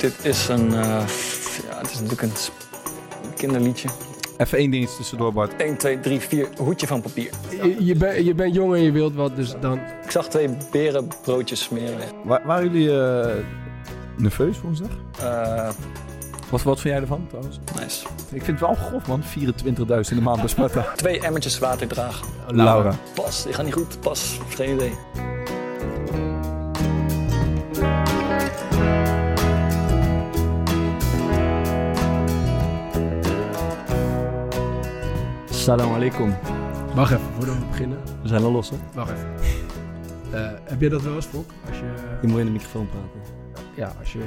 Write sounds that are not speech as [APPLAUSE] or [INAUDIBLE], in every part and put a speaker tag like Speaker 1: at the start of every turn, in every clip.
Speaker 1: Dit is een. eh, ja, het is natuurlijk een s- kinderliedje.
Speaker 2: Even één dingetje tussendoor, Bart.
Speaker 1: 1, 2, 3, 4. Hoedje van papier.
Speaker 3: Je, je, ben- je bent jong en je wilt wat, dus dan...
Speaker 1: Ik zag twee berenbroodjes smeren.
Speaker 2: Wa- waren jullie eh, nerveus woensdag?
Speaker 1: Eh,
Speaker 2: Wat, wat vind jij ervan trouwens?
Speaker 1: nice.
Speaker 2: Ik vind het wel grof, man. 24.000 in de maand bij Sparta. [LAUGHS]
Speaker 1: Twee emmertjes water dragen. Pas, die gaan niet goed. Pas, geen idee.
Speaker 2: Salam alaikum.
Speaker 3: Wacht even, voordat we beginnen.
Speaker 2: We zijn al los, hè?
Speaker 3: Wacht even. Eh, heb je dat wel eens, Fok? Als je,
Speaker 2: moet in de microfoon praten.
Speaker 3: ja, als je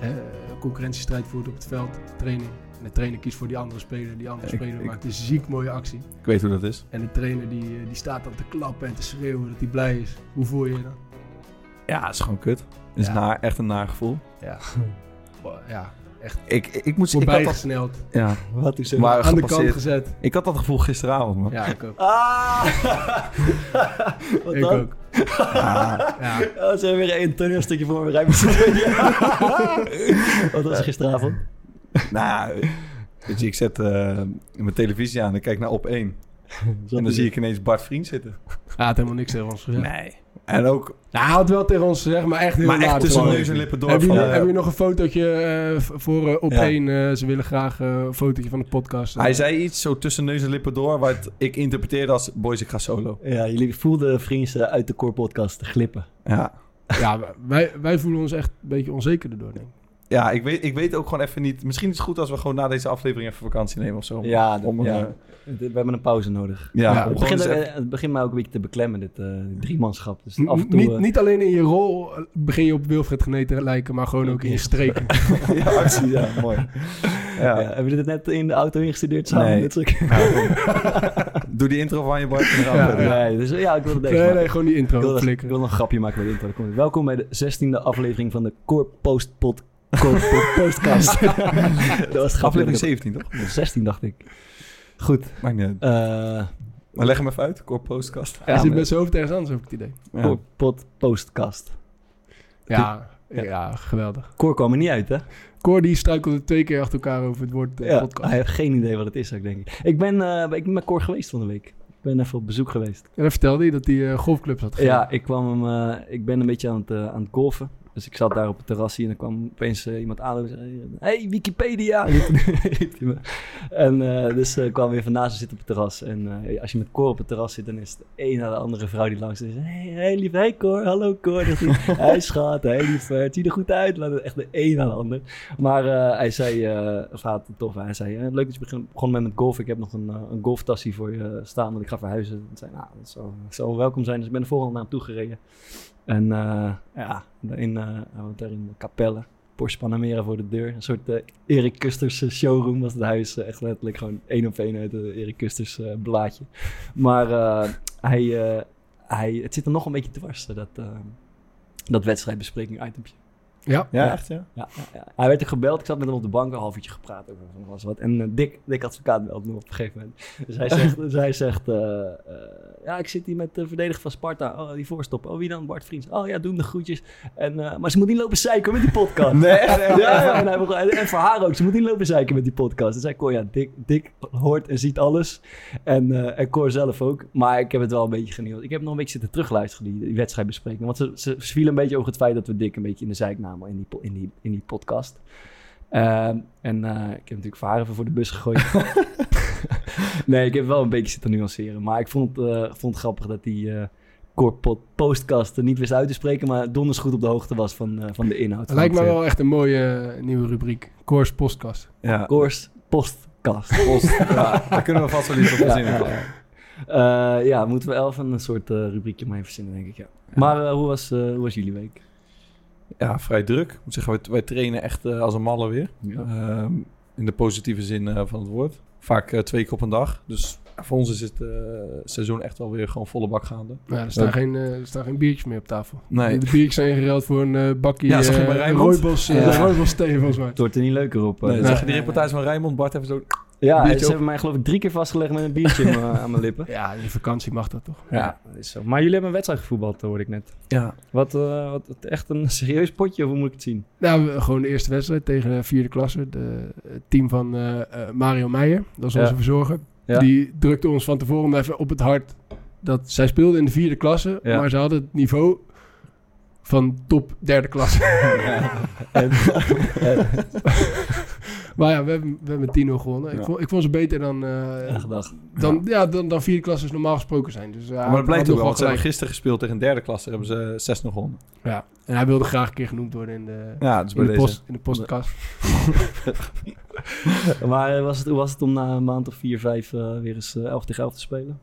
Speaker 3: eh, een concurrentiestrijd voert op het veld, de training. En de trainer kiest voor die andere speler. Die andere
Speaker 2: Ik-
Speaker 3: speler
Speaker 2: ik-
Speaker 3: maakt een ziek mooie actie.
Speaker 2: Ik weet hoe dat is.
Speaker 3: En de trainer die, eh, die staat dan te klappen en te schreeuwen dat hij blij is. Hoe voel je je dan?
Speaker 2: Ja, het is gewoon kut. Het is
Speaker 3: Ja.
Speaker 2: naar, echt een naar gevoel.
Speaker 3: Ja, Wow, ja
Speaker 2: Ik, ik moest... Ik had dat,
Speaker 3: voorbijgesneld.
Speaker 2: ja,
Speaker 1: Wat is
Speaker 2: maar
Speaker 3: Aan de kant
Speaker 2: gepasseerd.
Speaker 3: gezet.
Speaker 2: Ik had dat gevoel gisteravond, man.
Speaker 3: Ja, ik ook.
Speaker 1: Ah! [LAUGHS] Wat
Speaker 3: ik
Speaker 1: dan?
Speaker 3: ook.
Speaker 2: Ah,
Speaker 3: Ja.
Speaker 1: Ja, ze hebben weer één toneelstukje voor me
Speaker 3: [LAUGHS]
Speaker 1: rijmen. Wat was er gisteravond?
Speaker 2: nou, weet je, ik zet eh, mijn televisie aan en ik kijk naar op 1. En dan zie ik ineens Bart Vriend zitten.
Speaker 3: Hij had helemaal niks tegen ons gezegd.
Speaker 2: Nee. En ook...
Speaker 3: Nou, hij had wel tegen ons gezegd, maar echt heel
Speaker 2: Maar echt
Speaker 3: laat
Speaker 2: tussen
Speaker 3: gewoon.
Speaker 2: neus en lippen door.
Speaker 3: Heb je,
Speaker 2: van,
Speaker 3: nog-
Speaker 2: eh,
Speaker 3: heb je nog een fotootje eh, v- voor eh, op
Speaker 2: Ja.
Speaker 3: één? eh, ze willen graag eh, een fotootje van de podcast.
Speaker 2: Hij zei iets zo tussen neus en lippen door, wat ik interpreteerde als boys, ik ga solo.
Speaker 1: Ja, jullie voelden vrienden uit de Core Podcast glippen.
Speaker 2: Ja,
Speaker 3: Ja, wij, wij voelen ons echt een beetje onzeker erdoor, denk ik.
Speaker 2: ja ik, weet, ik weet ook gewoon even niet. Misschien is het goed als we gewoon na deze aflevering even vakantie nemen of zo.
Speaker 4: Ja,
Speaker 2: Om,
Speaker 4: d- ja.
Speaker 2: eh,
Speaker 4: we hebben een pauze nodig.
Speaker 2: ja,
Speaker 3: Ja, dus
Speaker 2: om
Speaker 4: Het
Speaker 2: gewoon
Speaker 4: begint,
Speaker 2: eens even-
Speaker 4: eh, het begint mij ook een beetje te beklemmen, dit eh, driemanschap. Dus
Speaker 3: N-
Speaker 4: af en toe...
Speaker 3: niet,
Speaker 4: eh,
Speaker 3: niet alleen in je rol eh, begin je op Wilfred Gené te lijken, maar gewoon ook in je streken.
Speaker 2: ja, actie,
Speaker 4: [LAUGHS]
Speaker 2: ja, mooi. Ja.
Speaker 4: ja, hebben we dit net in de auto ingestudeerd samen?
Speaker 2: Nee.
Speaker 4: Dit soort-
Speaker 2: [LAUGHS] Doe die intro van je Bart. en dan gaan we
Speaker 3: Ja.
Speaker 2: verder.
Speaker 4: Nee, dus, ja, ik [LAUGHS] wilde deze
Speaker 3: nee,
Speaker 4: maken.
Speaker 3: nee, gewoon die
Speaker 4: ik,
Speaker 3: intro
Speaker 4: wilde, ik
Speaker 3: flikken.
Speaker 4: wilde nog een grapje maken met de intro. Dan komt- Welkom bij de zestiende aflevering van de Core Post Pod... Core Pod-
Speaker 3: [LAUGHS]
Speaker 4: Postcast. dat was het grapje.
Speaker 2: Aflevering 17, toch?
Speaker 4: 16, dacht ik. Goed.
Speaker 2: Maakt niet uit.
Speaker 4: eh,
Speaker 2: Maar leg hem even uit, kort postkast.
Speaker 3: Hij
Speaker 4: ja,
Speaker 3: zit
Speaker 4: maar-
Speaker 3: met zijn hoofd ergens anders, heb ik het idee.
Speaker 4: Core Pod Postcast.
Speaker 3: Ja, ja. geweldig.
Speaker 4: Core kwam er niet uit, hè?
Speaker 3: Cor die struikelde twee keer achter elkaar over het woord eh,
Speaker 4: Ja,
Speaker 3: podcast.
Speaker 4: Hij heeft geen idee wat het is, ook, denk ik. Ik ben, eh, ik ben met Cor geweest van de week. Ik ben even op bezoek geweest.
Speaker 3: En dan vertelde hij dat hij eh, golfclubs had gedaan.
Speaker 4: Ja, ik kwam hem, eh, ik ben een beetje aan het, eh, aan het golven. Dus ik zat daar op het terrasje en dan kwam opeens eh, iemand aan en zei... Hey, Wikipedia! [LAUGHS] riep hij me. en eh, dus eh, ik kwam weer van naast me zitten op het terras. En eh, als je met Cor op het terras zit, dan is het de een na de andere vrouw die langs is. Hey, hey lief, hey Cor, hallo Cor. Dacht [LAUGHS] hij, hey schat, hey lief, eh, het ziet er goed uit. Laat het Echt de een na de ander. Maar eh, hij zei, eh of hij had het tof, hij zei, eh, leuk dat je begin, begon met met golf. Ik heb nog een, eh, een golftassie voor je staan, want ik ga verhuizen. En zei, nou, dat zou, zou welkom zijn. Dus ik ben er vooral naar hem toe gereden. En eh, ja, in, eh, hij woont daar in Capelle. Porsche Panamera voor de deur. Een soort eh, Erik Kusters eh, showroom was het huis. Eh, Echt letterlijk gewoon één op één uit de Erik Kusters eh, blaadje. Maar eh, hij, eh, hij, het zit er nog een beetje dwars, eh, dat, eh, dat wedstrijdbespreking itempje.
Speaker 3: Ja.
Speaker 2: Ja,
Speaker 4: Ja.
Speaker 2: echt, ja?
Speaker 4: Ja, ja, ja. Hij werd ook gebeld. Ik zat met hem op de bank een half uurtje gepraat over van alles wat. En eh, Dick, Dick advocaat belt me op een gegeven moment. Dus hij zegt, dus hij zegt eh, eh, ja, ik zit hier met de verdediger van Sparta. Oh, die voorstop. Oh, wie dan? Bart Vriends. Oh ja, doe hem de groetjes. En, eh, maar ze moet niet lopen zeiken met die podcast.
Speaker 2: Nee, echt, echt.
Speaker 4: Ja, ja, en, hij begon- en- en voor haar ook. Ze moet niet lopen zeiken met die podcast. Dus zei Cor, ja, Dick, Dick hoort en ziet alles. En, eh en Cor zelf ook. Maar ik heb het wel een beetje genieuwd. Ik heb nog een beetje zitten terugluisteren, die, die wedstrijdbespreking. Want ze, ze, ze viel een beetje over het feit dat we Dick een beetje in de zeik namen in die, po- in die, in die podcast. Ehm, en eh, ik heb natuurlijk voor haar even voor de bus [LAUGHS] gegooid. nee, ik heb wel een beetje zitten nuanceren. Maar ik vond, het, eh, ik vond het grappig dat die... eh Corpot postcast er niet wist uit te spreken, maar donders goed op de hoogte was van, eh, van de inhoud.
Speaker 3: Het lijkt
Speaker 4: Want,
Speaker 3: me
Speaker 4: eh,
Speaker 3: wel echt een mooie eh, nieuwe rubriek. Cor's podcast.
Speaker 2: Ja.
Speaker 4: Koers Postkast.
Speaker 2: Post. Ja, daar kunnen we vast wel iets op
Speaker 4: Ja,
Speaker 2: verzinnen.
Speaker 4: ja,
Speaker 2: toch?
Speaker 4: ja. Eh, ja, moeten we elf een soort eh, rubriekje omheen verzinnen, denk ik. Ja. Maar eh, hoe, was, eh, hoe was jullie week?
Speaker 2: Ja, vrij druk. Ik moet zeggen, wij, wij trainen echt eh, als een malle weer. Ehm, in de positieve zin eh, van het woord. Vaak eh, twee keer op een dag. Dus ja, voor ons is het eh, seizoen echt wel weer gewoon volle bak gaande.
Speaker 3: Ja, er, staan
Speaker 2: Ja.
Speaker 3: geen, eh, er staan geen biertjes meer op tafel.
Speaker 2: Nee.
Speaker 3: De biertjes zijn gereld voor een eh, bakje
Speaker 2: Ja, zag je
Speaker 3: eh,
Speaker 2: bij Rijnmond?
Speaker 3: rooibos, eh,
Speaker 4: Ja.
Speaker 3: rooibos thee, volgens mij.
Speaker 4: Het wordt er niet leuker op. eh.
Speaker 2: Nee,
Speaker 3: nee.
Speaker 2: zag je die reportage van Rijmond? Bart even zo...
Speaker 4: Ja,
Speaker 2: Biertje
Speaker 4: ze
Speaker 2: op.
Speaker 4: hebben mij geloof ik drie keer vastgelegd met een biertje in mijn- aan mijn lippen.
Speaker 3: Ja, in de vakantie mag dat toch?
Speaker 2: Ja.
Speaker 4: dat is zo. Maar jullie hebben een wedstrijd gevoetbald, eh, hoorde ik net.
Speaker 2: Ja.
Speaker 4: Wat, eh, wat wat- echt een serieus potje, of hoe moet ik het zien?
Speaker 3: Nou, we- gewoon de eerste wedstrijd tegen de vierde klasse. De, het team van eh, eh, Mario Meijer, dat is
Speaker 4: Ja.
Speaker 3: onze verzorger.
Speaker 4: Ja.
Speaker 3: Die drukte ons van tevoren even op het hart. Dat zij speelden in de vierde klasse,
Speaker 4: Ja.
Speaker 3: maar ze hadden het niveau van top derde klasse. [LAUGHS]
Speaker 4: En-
Speaker 3: maar ja, we hebben, we hebben met 10-0 gewonnen. Ik,
Speaker 2: Ja.
Speaker 3: vond, ik vond ze beter dan, eh,
Speaker 4: Ja, gedag.
Speaker 3: dan, ja. dan, dan vierde klassers normaal gesproken zijn. Dus, ja,
Speaker 2: maar dat blijkt ook wel, want ze
Speaker 3: gelijk.
Speaker 2: hebben gisteren gespeeld tegen een derde klasse. Daar hebben ze zes nog gewonnen.
Speaker 3: Ja. En hij wilde graag een keer genoemd worden in de,
Speaker 2: Ja, dus bij
Speaker 3: in de,
Speaker 2: deze.
Speaker 3: post, in de postkast.
Speaker 4: Maar eh, was het, hoe was het om na een maand of vier, vijf eh, weer eens eh, 11 tegen 11 te spelen?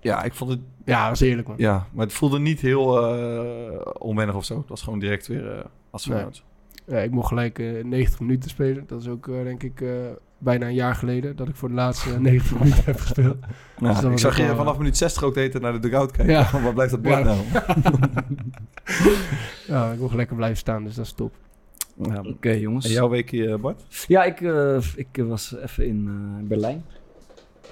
Speaker 2: Ja, ik vond het...
Speaker 3: Ja, dat was eerlijk man.
Speaker 2: Ja, maar het voelde niet heel eh onwennig of zo. Het was gewoon direct weer eh als
Speaker 3: Nee.
Speaker 2: vanuit.
Speaker 3: Ja, ik mocht gelijk eh, 90 minuten spelen. Dat is ook eh, denk ik eh, bijna een jaar geleden dat ik voor de laatste
Speaker 2: [LAUGHS]
Speaker 3: eh, 90 minuten heb gespeeld.
Speaker 2: Ja,
Speaker 3: Dus dat
Speaker 2: ik
Speaker 3: was
Speaker 2: zag
Speaker 3: ook
Speaker 2: je
Speaker 3: wel-
Speaker 2: vanaf minuut 60 ook de hele tijd naar de dugout kijken. [LAUGHS]
Speaker 3: Ja.
Speaker 2: Waar blijft dat blad
Speaker 3: Ja.
Speaker 2: nou?
Speaker 3: eh, Ja, ik mocht lekker blijven staan, dus dat is top.
Speaker 4: Oké, jongens.
Speaker 2: En jouw weekje, Bart?
Speaker 4: Ja, ik, eh, ik eh, was even in eh, Berlijn.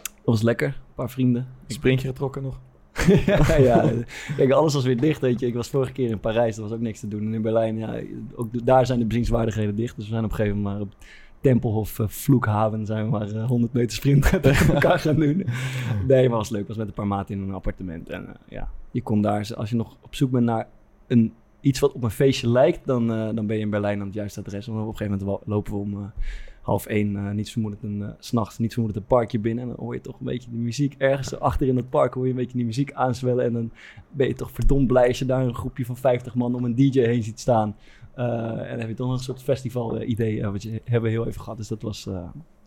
Speaker 4: Dat was lekker. Een paar vrienden.
Speaker 2: Sprintje getrokken nog?
Speaker 4: [LAUGHS] ja, ja. Kijk, alles was weer dicht, weet je. Ik was vorige keer in Parijs, er was ook niks te doen. En in Berlijn, ja, ook d- daar zijn de bezienswaardigheden dicht. Dus we zijn op een gegeven moment maar op Tempelhof, eh, Vloekhaven, zijn we maar eh, 100 meter sprint [LAUGHS] tegen elkaar gaan doen. Nee, maar was leuk. was met een paar maten in een appartement. En eh, ja, je kon daar, als je nog op zoek bent naar een, iets wat op een feestje lijkt, dan, eh, dan ben je in Berlijn aan het juiste adres. Want op een gegeven moment wa- lopen we om... eh, half één, eh niet vermoedend een, eh, 's s'nachts, niet vermoedend een parkje binnen. En dan hoor je toch een beetje die muziek. Ergens achter in het park hoor je een beetje die muziek aanzwellen. En dan ben je toch verdomd blij als je daar een groepje van 50 man om een DJ heen ziet staan. Eh, en dan heb je toch nog een soort festival-idee, eh, wat je hebben we heel even gehad. Dus dat was, eh,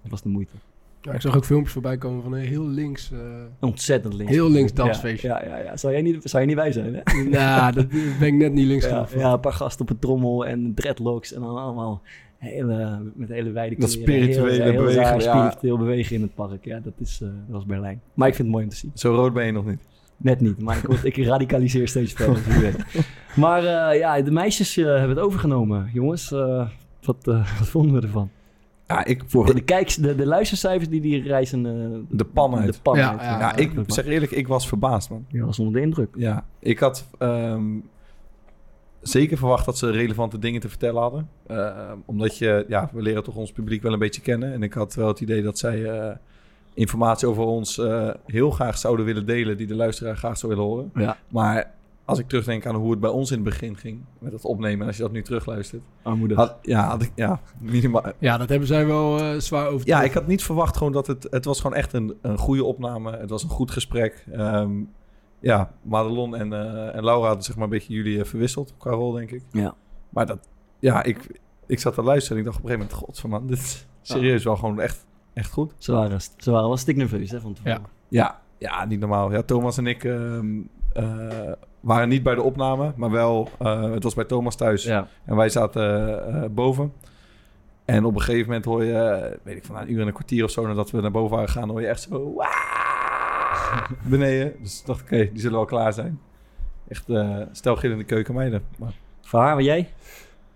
Speaker 4: dat was de moeite.
Speaker 3: Ja, ik zag ook filmpjes voorbij komen van een heel links. eh
Speaker 4: Ontzettend links.
Speaker 3: heel links
Speaker 4: Ja,
Speaker 3: dansfeestje.
Speaker 4: Ja, ja, ja, Zou, jij niet, zou jij niet bij zijn, hè?
Speaker 3: [LAUGHS] Nou, dat ben ik net niet links
Speaker 4: Ja,
Speaker 3: genoeg. voor.
Speaker 4: ja, een paar gasten op een trommel en dreadlocks en dan allemaal hele, met hele wijde
Speaker 2: Dat
Speaker 4: kleren, heel-
Speaker 2: spirituele
Speaker 4: heel
Speaker 2: bewegen,
Speaker 4: raar
Speaker 2: ja.
Speaker 4: spiritueel bewegen in het park. Ja, dat, is, eh, dat was Berlijn. Maar ik vind het mooi om te zien.
Speaker 2: Zo rood ben je nog niet.
Speaker 4: Net niet, maar ik, word- ik radicaliseer steeds verder. wie
Speaker 2: [LAUGHS]
Speaker 4: weet. Maar eh, ja, de meisjes eh, hebben het overgenomen. Jongens, Eh, wat, eh, [LAUGHS] wat vonden we ervan?
Speaker 2: Ja, ik,
Speaker 4: De, de, kijks, de, de luistercijfers die die reizen... eh,
Speaker 2: De pan uit.
Speaker 4: De pan
Speaker 3: Ja,
Speaker 4: uit.
Speaker 3: ja.
Speaker 2: ja, ik zeg eerlijk, ik was verbaasd, man.
Speaker 4: Je was onder de indruk.
Speaker 2: Ja, ik had ehm, zeker verwacht dat ze relevante dingen te vertellen hadden. Ehm, omdat je, ja, we leren toch ons publiek wel een beetje kennen. En ik had wel het idee dat zij eh, informatie over ons eh, heel graag zouden willen delen, die de luisteraar graag zou willen horen.
Speaker 4: Ja.
Speaker 2: Maar als ik terugdenk aan hoe het bij ons in het begin ging, met het opnemen, en als je dat nu terugluistert.
Speaker 4: Armoedig.
Speaker 2: Had, ja, had ik, ja, minimaal,
Speaker 3: Ja, dat hebben zij wel eh, zwaar over.
Speaker 2: ja, ik had niet verwacht gewoon dat het... Het was gewoon echt een, een goede opname. Het was een goed gesprek. Ehm, ja, Madelon en, eh, en Laura hadden zeg maar een beetje jullie eh, verwisseld qua rol, denk ik.
Speaker 4: Ja.
Speaker 2: Maar dat... Ja, ik, ik zat te luisteren en ik dacht op een gegeven moment... God van man, dit is serieus wel gewoon echt, echt goed.
Speaker 4: Ze waren, ze waren wel stiknerveus, hè, van tevoren.
Speaker 2: Ja, ja, niet normaal. Ja, Thomas en ik ehm, eh, waren niet bij de opname, maar wel... eh, het was bij Thomas thuis.
Speaker 4: ja.
Speaker 2: En wij zaten eh, eh, boven. En op een gegeven moment hoor je, eh, weet ik van een uur en een kwartier of zo, nadat we naar boven waren gegaan, hoor je echt zo "Waaah!" beneden. Dus ik dacht, oké, die zullen wel klaar zijn. Echt eh stel in de keukenmeiden. Maar,
Speaker 4: Voor haar, maar jij?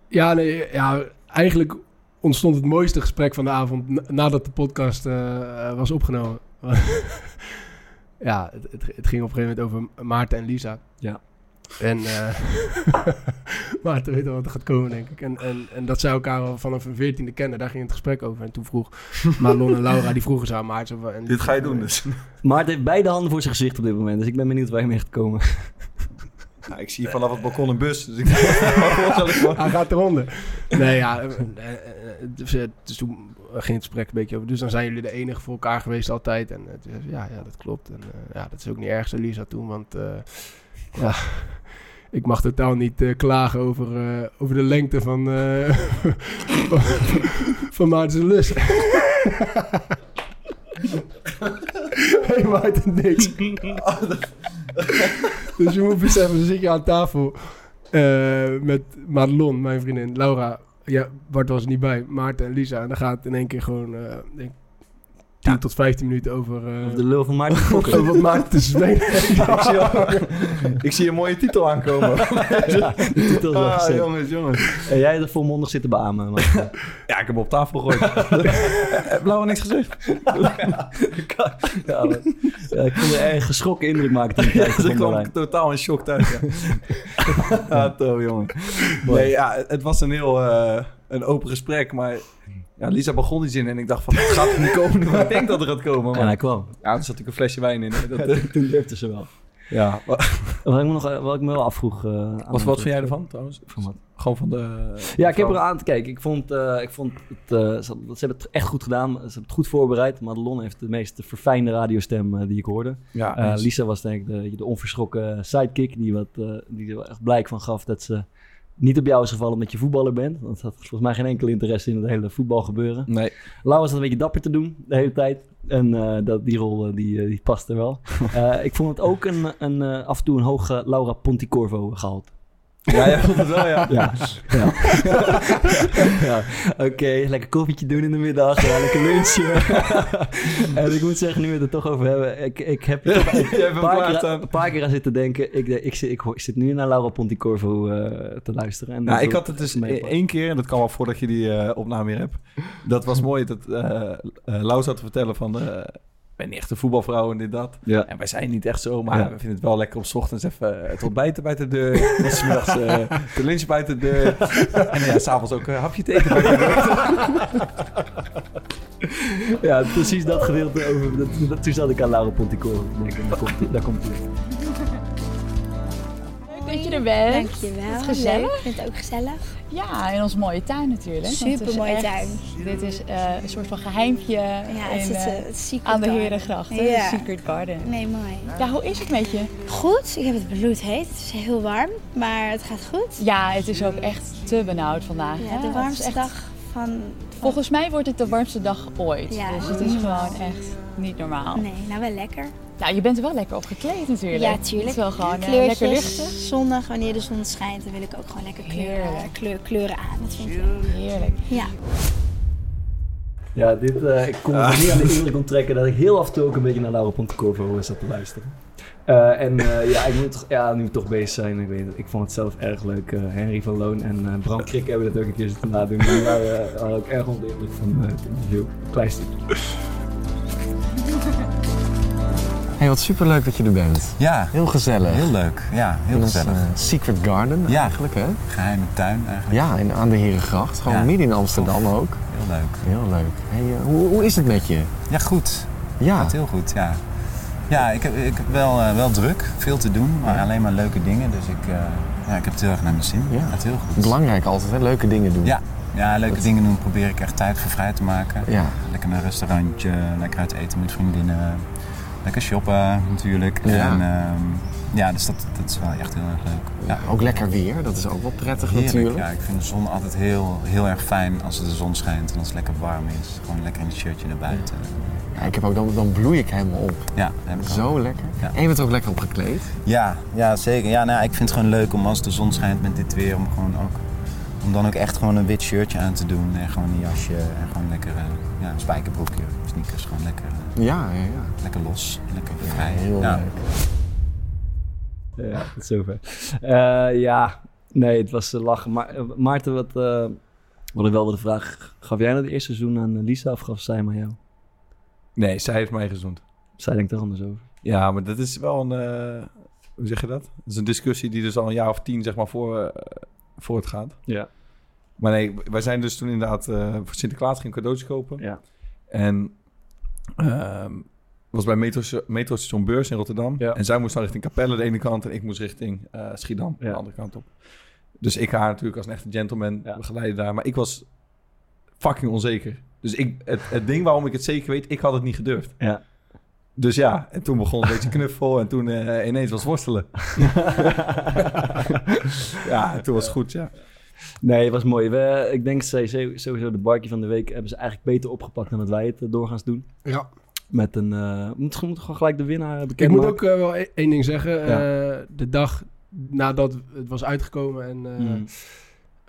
Speaker 3: Ja, nee, ja, eigenlijk ontstond het mooiste gesprek van de avond na- nadat de podcast eh, eh, was opgenomen. [LAUGHS] ja, het, het, het ging op een gegeven moment over Maarten en Lisa.
Speaker 4: Ja.
Speaker 3: En eh, [LAUGHS] Maarten weet al wat er gaat komen, denk ik. En, en, en dat zij elkaar al vanaf hun veertiende kennen, daar ging het gesprek over. En toen vroeg Marlon en Laura, die vroegen ze aan Maarten. zo van- en-
Speaker 2: dus.
Speaker 4: Maar het heeft beide handen voor zijn gezicht op dit moment, dus ik ben benieuwd waar je mee gaat komen.
Speaker 2: Nou, ik zie hier vanaf het balkon een bus, dus ik [LAUGHS] zal ik
Speaker 4: [LAUGHS]
Speaker 2: gewoon-
Speaker 3: Hij gaat eronder. Nee, ja. eh, eh, eh, Dus, eh, dus toen ging het gesprek een beetje over. Dus dan zijn jullie de enige voor elkaar geweest altijd. En eh, toen zei ze, ja, ja, dat klopt. En eh, ja, dat is ook niet erg, zei Lisa toen. Want eh, ja, [LAUGHS] ik mag totaal niet eh, klagen over, eh, over de lengte van, eh, [LAUGHS] van,
Speaker 4: [LAUGHS]
Speaker 3: van Maarten's lust. helemaal uit het niks. dus je moet beseffen, dan zit je aan tafel eh, met Madelon, mijn vriendin, Laura. Ja, Bart was er niet bij, Maarten en Lisa. En dan gaat het in één keer gewoon eh, ik denk, 10 tot 15 minuten over... eh,
Speaker 4: [LAUGHS] Of de lul van Maarten Fokker.
Speaker 3: over wat Maarten te spelen.
Speaker 4: Ah,
Speaker 2: ik, zie al- ik zie een mooie titel aankomen.
Speaker 4: ja, [LAUGHS] de Ah, titel is al gezet.
Speaker 2: Ah, jongens, jongens.
Speaker 4: En jij er volmondig zitten beamen. Maar,
Speaker 2: Ja, ik heb hem op tafel [LAUGHS] gegooid. Heb Blauwe niks gezegd?
Speaker 4: [LAUGHS] ja, maar- ja, ik kon er erg geschrokken indruk maken toen ik
Speaker 2: Ja,
Speaker 4: thuis kwam
Speaker 2: ze
Speaker 4: bij
Speaker 2: kwam
Speaker 4: Rijn.
Speaker 2: totaal in shock thuis. [LAUGHS] Ja. ah, tof, jongen.
Speaker 4: Mooi.
Speaker 2: Nee, ja, het was een heel eh, een open gesprek, maar ja, Lisa begon die zin en ik dacht van, het gaat er niet komen maar ik denk dat er gaat komen.
Speaker 4: En
Speaker 2: Maar,
Speaker 4: hij kwam.
Speaker 2: ja, er zat natuurlijk een flesje wijn in. hè, Dat, eh,
Speaker 4: Toen durfde ze wel.
Speaker 2: ja, wat,
Speaker 4: Wat ik me, nog, wat ik me wel afvroeg... eh, aan
Speaker 2: wat, wat
Speaker 4: het-
Speaker 2: vind jij ervan trouwens?
Speaker 4: van wat?
Speaker 2: Gewoon van de...
Speaker 4: Ja, ik heb
Speaker 2: vrouw.
Speaker 4: er aan te kijken. Ik vond, eh, ik vond het, eh, ze, ze hebben het echt goed gedaan. Ze hebben het goed voorbereid. Madelon heeft de meest verfijnde radiostem eh, die ik hoorde.
Speaker 2: Ja,
Speaker 4: Eh,
Speaker 2: eens.
Speaker 4: Lisa was denk ik de, de onverschrokken sidekick die, wat, eh, die er wel echt blijk van gaf dat ze niet op jou is gevallen omdat je voetballer bent. Want ze had volgens mij geen enkel interesse in het hele voetbalgebeuren.
Speaker 2: Nee,
Speaker 4: Laura zat een beetje dapper te doen de hele tijd. En eh, dat, die rol eh, die, eh, die past er wel. Eh, ik vond het ook een, een, eh, af en toe een hoge Laura Ponticorvo gehaald.
Speaker 2: ja, jij vond het wel, ja.
Speaker 4: Ja. ja. [LAUGHS] ja. Oké, lekker koffietje doen in de middag. Ja, lekker [LAUGHS] lunchje. en ik moet zeggen, nu we het er toch over hebben. Ik, ik heb er toch
Speaker 2: Jij hebt
Speaker 4: een
Speaker 2: hem
Speaker 4: paar,
Speaker 2: klaar
Speaker 4: keer,
Speaker 2: staan.
Speaker 4: aan- een paar keer aan zitten denken. Ik, ik, zit- ik, hoor- ik zit nu naar Laura Ponticorvo eh, te luisteren. En
Speaker 2: Nou,
Speaker 4: dat-
Speaker 2: ik had het dus
Speaker 4: mee
Speaker 2: e-
Speaker 4: pakt.
Speaker 2: één keer, en dat kwam al voordat je die eh, opname weer hebt. Dat
Speaker 4: [LAUGHS]
Speaker 2: was mooi, dat eh eh, Lau zat te vertellen van... eh, ik ben niet echt een voetbalvrouw en dit dat.
Speaker 4: Ja.
Speaker 2: En wij zijn niet echt zo, maar
Speaker 4: Ja.
Speaker 2: we vinden het wel lekker om 's ochtends even het ontbijten bij de
Speaker 4: [LAUGHS]
Speaker 2: deur. En 's middags eh, de lunch bij de deur. En ja, s'avonds ook een hapje te eten bij de deur.
Speaker 4: Ja, precies dat gedeelte over. Dat, dat- toen zat ik aan Laura Ponticorvo te denken. Daar komt, daar komt ie.
Speaker 5: Leuk dat je er bent.
Speaker 6: Dankjewel.
Speaker 5: Is het gezellig?
Speaker 6: Leuk, Ik vind het ook gezellig.
Speaker 5: Ja, in onze mooie tuin natuurlijk. want het is
Speaker 6: Supermooie
Speaker 5: echt-
Speaker 6: tuin.
Speaker 5: Dit is eh, een soort van geheimpje
Speaker 6: Ja,
Speaker 5: in,
Speaker 6: het zit
Speaker 5: eh,
Speaker 6: eh, het secret
Speaker 5: aan de
Speaker 6: garden.
Speaker 5: Herengracht. hè,
Speaker 6: Ja.
Speaker 5: De Secret Garden.
Speaker 6: Nee, mooi.
Speaker 5: Ja, hoe is het met je?
Speaker 6: Goed, ik heb het bloedheet. Het is heel warm, maar het gaat goed.
Speaker 5: Ja, het is ook echt te benauwd vandaag. hè.
Speaker 6: Ja,
Speaker 5: Het
Speaker 6: de
Speaker 5: is
Speaker 6: warmste
Speaker 5: echt-
Speaker 6: dag van...
Speaker 5: Volgens mij wordt het de warmste dag ooit.
Speaker 6: Ja,
Speaker 5: dus het is gewoon echt niet normaal.
Speaker 6: Nee, nou wel lekker.
Speaker 5: Nou, je bent er wel lekker op gekleed natuurlijk.
Speaker 6: Ja,
Speaker 5: Het is
Speaker 6: tuurlijk.
Speaker 5: wel gewoon eh,
Speaker 6: Kleurtjes,
Speaker 5: lekker luchtig.
Speaker 6: zondag, wanneer de zon schijnt, dan wil ik ook gewoon lekker kleuren,
Speaker 5: Heerlijk.
Speaker 6: kleur, kleuren aan. Dat vind ik leuk.
Speaker 5: Heerlijk.
Speaker 6: Ja.
Speaker 4: Ja, dit, eh, ik kon me niet aan de indruk onttrekken dat ik heel af en toe ook een beetje naar Laura Pontecorvo zat te luisteren. Eh, en eh, ja, ik moet toch, ja, nu we toch bezig zijn. Ik, weet, het, ik vond het zelf erg leuk. Eh, Henry van Loon en eh, Bram Krik hebben dat ook een keer zitten nadoen. Die waren eh, waren ook erg onder de indruk van eh, het interview. Klein stukje.
Speaker 7: Hey, wat superleuk dat je er bent.
Speaker 8: Ja,
Speaker 7: Heel gezellig.
Speaker 8: heel leuk. Ja, heel
Speaker 7: In ons,
Speaker 8: gezellig.
Speaker 7: eh, Secret Garden
Speaker 8: Ja.
Speaker 7: eigenlijk, hè?
Speaker 8: Geheime tuin eigenlijk.
Speaker 7: Ja, en aan de Herengracht. Gewoon
Speaker 8: Ja.
Speaker 7: midden in Amsterdam ook.
Speaker 8: Heel leuk.
Speaker 7: Heel leuk. Hey, eh, hoe, hoe is het met je?
Speaker 8: Ja, goed.
Speaker 7: Ja.
Speaker 8: Gaat heel goed, ja. Ja, ik heb, ik heb wel, eh, wel druk. Veel te doen, maar alleen maar leuke dingen. Dus ik, eh, ja, ik heb het heel erg naar mijn zin.
Speaker 7: Ja.
Speaker 8: Gaat heel goed.
Speaker 7: Belangrijk altijd, hè? Leuke dingen doen.
Speaker 8: eh? Ja. ja, leuke dingen doen. Probeer ik echt tijd voor vrij te maken.
Speaker 7: Ja.
Speaker 8: Lekker naar een restaurantje, lekker uit eten met vriendinnen. Lekker shoppen natuurlijk.
Speaker 7: Ja.
Speaker 8: En, ehm, ja, dus dat, dat is wel echt heel erg leuk. Ja.
Speaker 7: Ook lekker weer, dat is ook wel prettig
Speaker 8: Heerlijk,
Speaker 7: natuurlijk.
Speaker 8: Ja, ik vind de zon altijd heel, heel erg fijn als de zon schijnt en als het lekker warm is. Gewoon lekker in een shirtje naar buiten.
Speaker 7: Ja, ik heb ook, dan, dan bloei ik helemaal op.
Speaker 8: Ja, dat heb ik ook.
Speaker 7: Zo lekker.
Speaker 8: Oh. Ja.
Speaker 7: En je bent ook lekker opgekleed.
Speaker 8: Ja, ja zeker. Ja, nou, ja, ik vind het gewoon leuk om als de zon schijnt met dit weer, om, gewoon ook, om dan ook echt gewoon een wit shirtje aan te doen. En gewoon een jasje en gewoon lekker eh, ja, een spijkerbroekje, sneakers. Gewoon lekker, eh,
Speaker 7: Ja, ja, ja.
Speaker 8: lekker los, lekker vrij.
Speaker 7: Heel
Speaker 8: Ja.
Speaker 7: leuk.
Speaker 4: Ja, tot zover. Eh, ja, nee, het was eh, lachen. Maar, eh, Maarten, wat, eh wat ik wel wilde vragen. Gaf jij nou het eerste seizoen aan Lisa of gaf zij hem aan jou?
Speaker 2: Nee, zij heeft mij gezoend.
Speaker 4: Zij denkt er anders over.
Speaker 2: Ja, maar dat is wel een... eh, hoe zeg je dat? Dat is een discussie die dus al een jaar of tien zeg maar voor, eh, voortgaat.
Speaker 4: Ja. [LAUGHS]
Speaker 2: Maar nee, wij zijn dus toen inderdaad eh, voor Sinterklaas geen cadeautjes kopen.
Speaker 4: Ja.
Speaker 2: En ehm, was bij metro, metrostation Beurs in Rotterdam.
Speaker 4: Ja.
Speaker 2: En zij moest dan richting Capelle de ene kant en ik moest richting eh, Schiedam
Speaker 4: Ja.
Speaker 2: de andere kant op. Dus ik haar natuurlijk als een echte gentleman
Speaker 4: Ja.
Speaker 2: begeleiden daar. Maar ik was fucking onzeker. Dus ik, het, het ding waarom ik het zeker weet, ik had het niet gedurfd.
Speaker 4: Ja.
Speaker 2: Dus ja, en toen begon een beetje knuffel en toen eh, ineens was worstelen. ja, en toen was het goed, ja.
Speaker 4: Nee, het was mooi. We, ik denk dat zij sowieso de barkie van de week hebben ze eigenlijk beter opgepakt dan dat wij het eh, doorgaans doen.
Speaker 3: Ja.
Speaker 4: Met een, eh, moet, moet gewoon gelijk de winnaar
Speaker 3: Ik
Speaker 4: bekend
Speaker 3: moet
Speaker 4: maken.
Speaker 3: ook eh, wel e- één ding zeggen.
Speaker 4: Ja.
Speaker 3: Eh, de dag nadat het was uitgekomen en eh,
Speaker 4: Mm.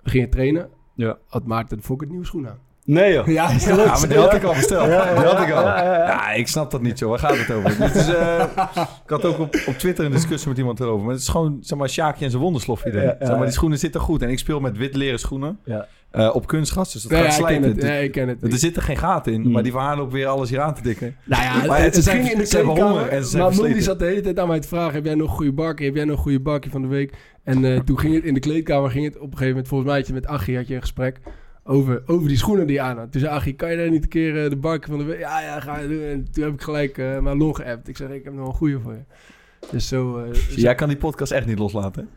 Speaker 3: we gingen trainen,
Speaker 4: Ja.
Speaker 3: had Maarten Fokker nieuwe schoenen aan.
Speaker 4: Nee joh. [LAUGHS]
Speaker 3: Ja, is
Speaker 2: Ja, maar die had ik al besteld. Die had ik al.
Speaker 4: Ja, ja, ja.
Speaker 2: Ja, ik snap dat niet, joh. Waar gaat het over? Dit is, eh, [LAUGHS] ik had ook op, op Twitter een discussie met iemand erover. Maar het is gewoon, zeg maar, Sjaakje en zijn wonderslof idee.
Speaker 4: Ja, ja,
Speaker 2: zeg maar,
Speaker 4: ja.
Speaker 2: die schoenen zitten goed. En ik speel met wit leren schoenen
Speaker 4: Ja.
Speaker 2: eh, op kunstgras, dus dat
Speaker 3: Nee,
Speaker 2: gaat
Speaker 3: ja, ik ken
Speaker 2: slijten.
Speaker 3: het.
Speaker 2: Dus-
Speaker 3: Ja, ik ken het.
Speaker 2: er zitten geen gaten in,
Speaker 4: Mm.
Speaker 2: maar die van haar loopt weer alles hier aan te dikken.
Speaker 3: Nou ja,
Speaker 2: Maar
Speaker 3: het,
Speaker 2: ze
Speaker 3: het
Speaker 2: zijn-
Speaker 3: ging in de
Speaker 2: ze hebben
Speaker 3: kleedkamer,
Speaker 2: honger en ze zijn
Speaker 3: maar Moody
Speaker 2: versleten.
Speaker 3: zat de hele tijd aan mij te vragen... heb jij nog een goede barkie? Heb jij nog een goede barkie van de week? En eh, toen ging het in de kleedkamer... ging het op een gegeven moment... volgens mij had je met Achie had je een gesprek... over, over die schoenen die je aan had. Toen zei Achie, kan je daar niet een keer eh, de barkie van de week... ja, ja, ga je doen. En toen heb ik gelijk eh, mijn long geappt. Ik zeg, ik heb nog een goede voor je. Dus zo... eh, zo-
Speaker 2: Jij kan die podcast echt niet loslaten. hè?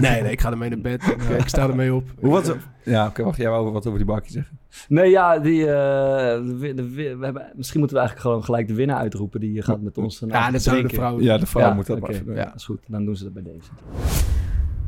Speaker 3: Nee, nee, ik ga ermee naar bed. Ik, eh, ik sta ermee op.
Speaker 2: Hoe was het? Ja, oké, wacht. Jij wou wat over die bakje zeggen.
Speaker 4: Nee, ja, die, eh, de win- de win- we hebben, misschien moeten we eigenlijk gewoon gelijk de winnaar uitroepen. Die gaat met ons. een
Speaker 3: Ja, dat zouden de vrouwen...
Speaker 2: Ja, de vrouw
Speaker 4: Ja,
Speaker 2: moet dat maar
Speaker 4: oké.
Speaker 2: even doen.
Speaker 4: Ja, dat is goed. Dan doen ze dat bij deze.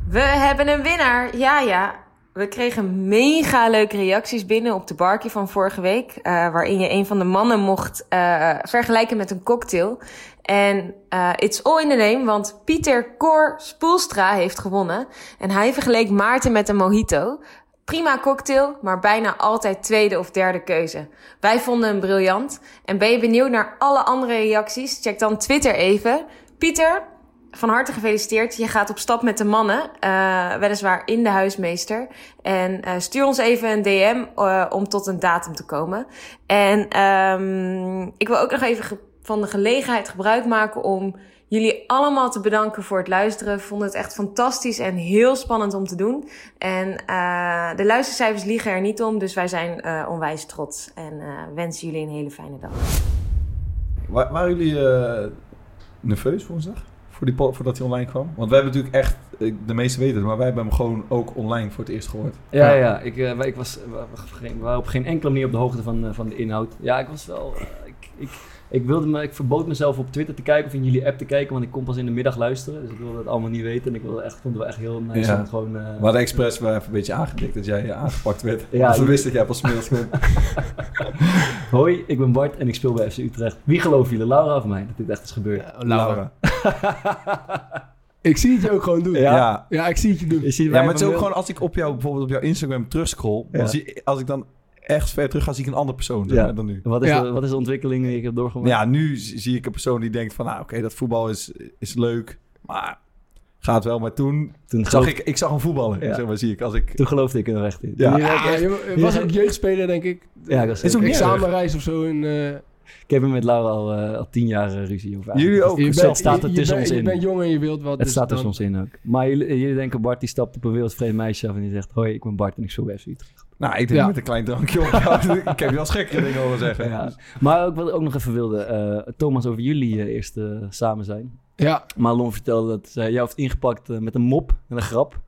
Speaker 9: We hebben een winnaar. Ja, ja. We kregen mega leuke reacties binnen op de barkie van vorige week. eh, waarin je een van de mannen mocht eh, vergelijken met een cocktail. En eh it's all in the name, want Pieter Cor Spoelstra heeft gewonnen. En hij vergeleek Maarten met een mojito. Prima cocktail, maar bijna altijd tweede of derde keuze. Wij vonden hem briljant. En ben je benieuwd naar alle andere reacties? Check dan Twitter even. Pieter, van harte gefeliciteerd. Je gaat op stap met de mannen, eh, weliswaar in de huismeester. En eh, stuur ons even een DM eh, om tot een datum te komen. En ehm, ik wil ook nog even ge- van de gelegenheid gebruik maken om jullie allemaal te bedanken voor het luisteren. Ik vond het echt fantastisch en heel spannend om te doen. En eh, de luistercijfers liegen er niet om, dus wij zijn eh, onwijs trots. En eh, wensen jullie een hele fijne dag.
Speaker 2: Wa- waren jullie eh, nerveus woensdag? Voor die, po- voordat hij online kwam? Want wij hebben natuurlijk echt, eh, de meesten weten het, maar wij hebben hem gewoon ook online voor het eerst gehoord.
Speaker 4: Ja, ja. Ik, eh, wij- ik was, we, we- geen- we waren op geen enkele manier op de hoogte van, eh, van de inhoud. Ja, ik was wel... eh, ik, ik, ik, wilde me, ik verbood mezelf op Twitter te kijken of in jullie app te kijken, want ik kon pas in de middag luisteren. Dus ik wilde dat allemaal niet weten. En ik wilde echt, vond het wel echt heel nice
Speaker 2: Ja.
Speaker 4: om het gewoon... eh,
Speaker 2: We hadden expres wel even een beetje aangedikt dat jij eh, aangepakt werd.
Speaker 4: Ja,
Speaker 2: Ja, we
Speaker 4: je-
Speaker 2: wisten dat jij pas middags kwam.
Speaker 4: Hoi, ik ben Bart en ik speel bij FC Utrecht. Wie geloven jullie, Laura of mij, dat dit echt is gebeurd?
Speaker 3: Oh, Laura. Ik zie het je ook gewoon doen.
Speaker 2: Ja.
Speaker 3: Ja,
Speaker 2: Ja.
Speaker 3: ik zie het je doen.
Speaker 4: Is hier- wij
Speaker 2: maar het is
Speaker 4: hebben
Speaker 2: ook
Speaker 4: wel-
Speaker 2: gewoon als ik op jou, bijvoorbeeld op jouw Instagram terugscroll,
Speaker 4: Ja.
Speaker 2: dan zie, als ik dan echt ver terug ga, zie ik een andere persoon zeg
Speaker 4: Ja.
Speaker 2: maar, dan nu.
Speaker 4: Wat is,
Speaker 3: Ja.
Speaker 4: de, wat is de ontwikkeling die ik heb doorgemaakt?
Speaker 2: Ja, nu z- zie ik een persoon die denkt van, nou oké, dat voetbal is, is leuk, maar gaat wel. Maar toen
Speaker 4: Toen,
Speaker 2: zag
Speaker 4: geloof,
Speaker 2: ik, ik zag een voetballer,
Speaker 4: Ja.
Speaker 2: zeg maar, zie ik. Als ik
Speaker 4: toen geloofde ik er echt in.
Speaker 2: Ja.
Speaker 4: Toen
Speaker 3: Ja,
Speaker 4: werd ik echt-
Speaker 3: je was ook jeugdspeler, denk ik.
Speaker 4: Ja, dat is
Speaker 2: Is ook niet
Speaker 3: Examenreis of zo. In, eh,
Speaker 4: Ik heb hem met Laura al, eh, al tien jaar eh, ruzie over.
Speaker 2: Jullie ook.
Speaker 4: Het
Speaker 3: bent-
Speaker 4: staat- staat er
Speaker 3: je-
Speaker 4: tussen
Speaker 3: je, bent-
Speaker 4: ons
Speaker 3: Je
Speaker 4: in.
Speaker 3: bent jong en je wilt wat.
Speaker 4: Het
Speaker 3: dus
Speaker 4: staat er
Speaker 3: dan-
Speaker 4: soms in ook. Maar jullie, eh, jullie denken, Bart die stapt op een wereldvreemd meisje af en die zegt... Hoi, ik ben Bart en ik speel bij FC Utrecht.
Speaker 2: Nou, ik denk
Speaker 3: Ja.
Speaker 2: met een klein drankje op. ik heb je als gek dingen horen zeggen.
Speaker 4: Ja. Maar ook, wat ik ook nog even wilde, eh, Thomas, over jullie eh, eerst eh, samen zijn.
Speaker 3: Ja,
Speaker 4: Malon vertelde dat zij jou heeft ingepakt eh, met een mop en een grap.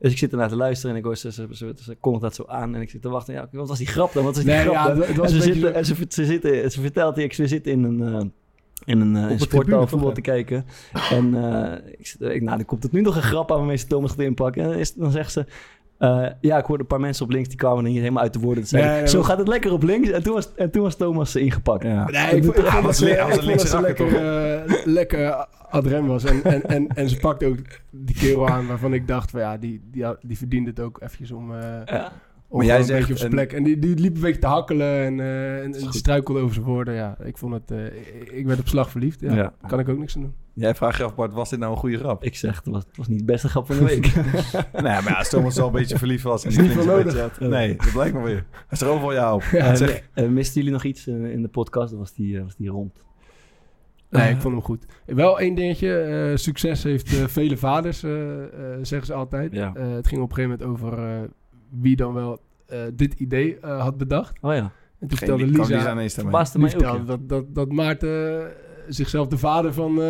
Speaker 4: Dus ik zit ernaar te luisteren en ik hoor ze, ze, ze, ze kondigt dat zo aan. En ik zit te wachten. Ja, oké, wat was die grap dan? Wat was die
Speaker 3: Nee,
Speaker 4: grap
Speaker 3: ja,
Speaker 4: dan?
Speaker 3: het was
Speaker 4: en ze,
Speaker 3: een beetje
Speaker 4: zitten, en ze, ver- ze, zitten, ze vertelt die, ik ze zitten in een... eh, in een, eh, een
Speaker 2: een tribune,
Speaker 4: sporthal
Speaker 2: toch,
Speaker 4: voetbal
Speaker 2: ja?
Speaker 4: te kijken. En eh, ik, zit- ik, nou, dan komt het nu nog een grap aan waarmee ze Thomas gaat inpakken. En dan, is, dan zegt ze... eh, ja, ik hoorde een paar mensen op links die kwamen niet helemaal uit de woorden. Ze zeiden,
Speaker 3: Nee, nee,
Speaker 4: zo
Speaker 3: dat-
Speaker 4: gaat het lekker op links. En toen was, en toen was Thomas eh, ingepakt.
Speaker 3: nee, ik, vond- ik vond
Speaker 2: was
Speaker 3: dat
Speaker 2: li-
Speaker 3: ze-
Speaker 2: hij was
Speaker 3: ik
Speaker 2: een
Speaker 3: vond dat
Speaker 2: linkse
Speaker 3: ze
Speaker 2: rakker,
Speaker 3: lekker, eh, lekker adrem was. En, en, en, en ze pakte ook die kerel aan waarvan ik dacht van ja, die, die, die verdient het ook eventjes om... eh,
Speaker 4: Ja.
Speaker 3: om
Speaker 2: Maar
Speaker 3: jij
Speaker 2: jij
Speaker 3: een
Speaker 2: zegt
Speaker 3: beetje op zijn
Speaker 2: een-
Speaker 3: plek. En die, die liep een beetje te hakkelen en, eh, en, en die struikelde over zijn woorden. Ja, ik vond het... eh, ik, ik werd op slag verliefd. Ja.
Speaker 4: Ja.
Speaker 3: Kan ik ook niks aan doen.
Speaker 2: Jij vraagt je af, Bart, was dit nou een goede grap?
Speaker 4: Ik zeg, het was, het was niet de beste grap van de
Speaker 3: [LAUGHS]
Speaker 4: week.
Speaker 2: nee, maar ja, als Thomas wel een beetje verliefd was... en
Speaker 3: Is
Speaker 2: die
Speaker 3: niet
Speaker 2: klinkt
Speaker 3: veel
Speaker 2: een beetje uit- Nee, dat blijkt me weer. Hij is er overal jou op.
Speaker 4: Eh,
Speaker 2: Zeg,
Speaker 4: eh, misten jullie nog iets eh, in de podcast? Dan was die, eh, was die rond.
Speaker 3: Nee,
Speaker 4: Eh.
Speaker 3: ik vond hem goed. Wel één dingetje. eh, succes heeft eh, vele vaders, eh, eh, zeggen ze altijd.
Speaker 4: Ja.
Speaker 3: Eh, het ging op een gegeven moment over eh, wie dan wel eh, dit idee eh, had bedacht.
Speaker 4: Oh ja,
Speaker 3: En toen
Speaker 2: geen-
Speaker 3: vertelde
Speaker 2: kan
Speaker 3: Lisa,
Speaker 2: Lisa ineens daarmee.
Speaker 4: verbaasde
Speaker 3: die
Speaker 4: mij ook.
Speaker 3: vertelde dat, dat, dat Maarten eh, zichzelf de vader van, eh,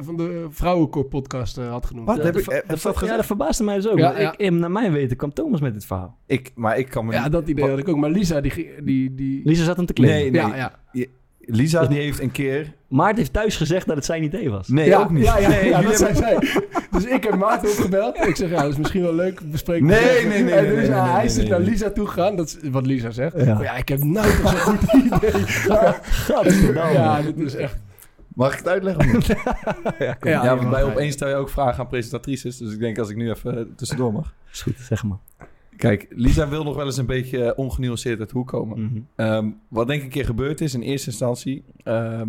Speaker 3: van de Vrouwenkor-podcast eh, had genoemd.
Speaker 2: Wat?
Speaker 4: ja.
Speaker 2: Heb
Speaker 4: De-
Speaker 2: ik-
Speaker 4: de-
Speaker 2: heb ik
Speaker 4: de-
Speaker 2: dat
Speaker 4: ja,
Speaker 2: gezegd?
Speaker 4: dat verbaasde mij dus ook.
Speaker 3: Ja,
Speaker 4: want
Speaker 3: ja.
Speaker 4: Ik, in- naar mijn weten kwam Thomas met dit verhaal.
Speaker 2: Ik, maar ik kan me
Speaker 3: Ja,
Speaker 2: niet-
Speaker 3: dat idee
Speaker 2: Wat-
Speaker 3: had ik ook. Maar Lisa, die... die, die
Speaker 4: Lisa zat hem te
Speaker 2: Nee,
Speaker 4: kleden.
Speaker 3: ja, ja.
Speaker 2: Lisa die heeft een keer...
Speaker 4: Maarten heeft thuis gezegd dat het zijn idee was.
Speaker 2: Nee,
Speaker 3: ja,
Speaker 2: ook niet.
Speaker 3: Ja, ja,
Speaker 2: nee,
Speaker 3: ja,
Speaker 2: jullie
Speaker 3: dat zijn
Speaker 2: hebben-
Speaker 3: zij. Dus ik heb Maarten opgebeld. Ik zeg, ja, dat is misschien wel leuk. Bespreek
Speaker 2: Nee, nee, nee, nee,
Speaker 3: En dus
Speaker 2: nee, nee,
Speaker 3: hij
Speaker 2: nee,
Speaker 3: is
Speaker 2: nee,
Speaker 3: naar
Speaker 2: nee.
Speaker 3: Lisa toe gegaan. Dat is wat Lisa zegt.
Speaker 4: Ja.
Speaker 3: Ja, ja ik heb nou toch zo'n goed [LAUGHS] idee.
Speaker 4: Gadverdamme.
Speaker 3: Ja, dit is echt...
Speaker 2: Mag ik het uitleggen?
Speaker 3: [LAUGHS]
Speaker 2: of niet?
Speaker 4: Ja,
Speaker 2: ja, want
Speaker 3: je mag
Speaker 2: bij
Speaker 3: mij.
Speaker 2: Opeens stel je ook vragen aan presentatrices. Dus ik denk als ik nu even eh, tussendoor mag.
Speaker 4: Is goed, zeg maar.
Speaker 2: Kijk, Lisa wil nog wel eens een beetje eh, ongenuanceerd uit de hoek komen.
Speaker 4: Mhm.
Speaker 2: Ehm, wat denk ik een keer gebeurd is in eerste instantie... ehm,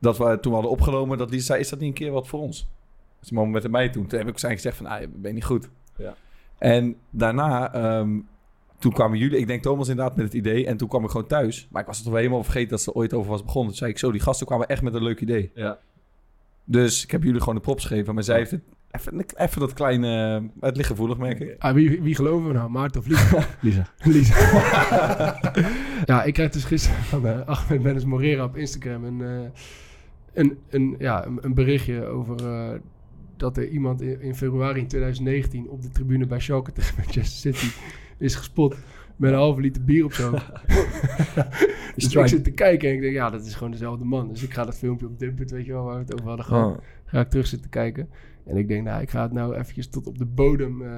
Speaker 2: dat we toen we hadden opgenomen, dat Lisa zei... is dat niet een keer wat voor ons? Dat is een moment met mij toen. Toen heb ik zijn gezegd van... ah, je bent niet goed.
Speaker 4: Ja.
Speaker 2: En daarna... ehm, toen kwamen jullie, ik denk Thomas inderdaad met het idee. En toen kwam ik gewoon thuis. Maar ik was het toch wel helemaal vergeten dat ze er ooit over was begonnen. Toen zei ik zo, die gasten kwamen echt met een leuk idee.
Speaker 4: Ja.
Speaker 2: Dus ik heb jullie gewoon de props gegeven. Maar zij heeft het, even, even dat kleine... Het ligt gevoelig, merk ik.
Speaker 3: Ah, wie, wie geloven we nou? Maarten of Lisa?
Speaker 4: Lisa.
Speaker 3: [LAUGHS] Lisa. ja, ik kreeg dus gisteren van eh, Ahmed Bennis Morera op Instagram een, eh, een, een, ja, een, een berichtje over eh, dat er iemand in, in februari 2019 op de tribune bij Schalke tegen Manchester City is gespot met een halve liter bier op zo. [LAUGHS] dus ik
Speaker 2: trying.
Speaker 3: zit te kijken en ik denk, ja, dat is gewoon dezelfde man. Dus ik ga dat filmpje op Dimpet, weet je wel, waar we het over hadden gehad ga ik terug zitten kijken. En ik denk, nou, ik ga het nou eventjes tot op de bodem eh,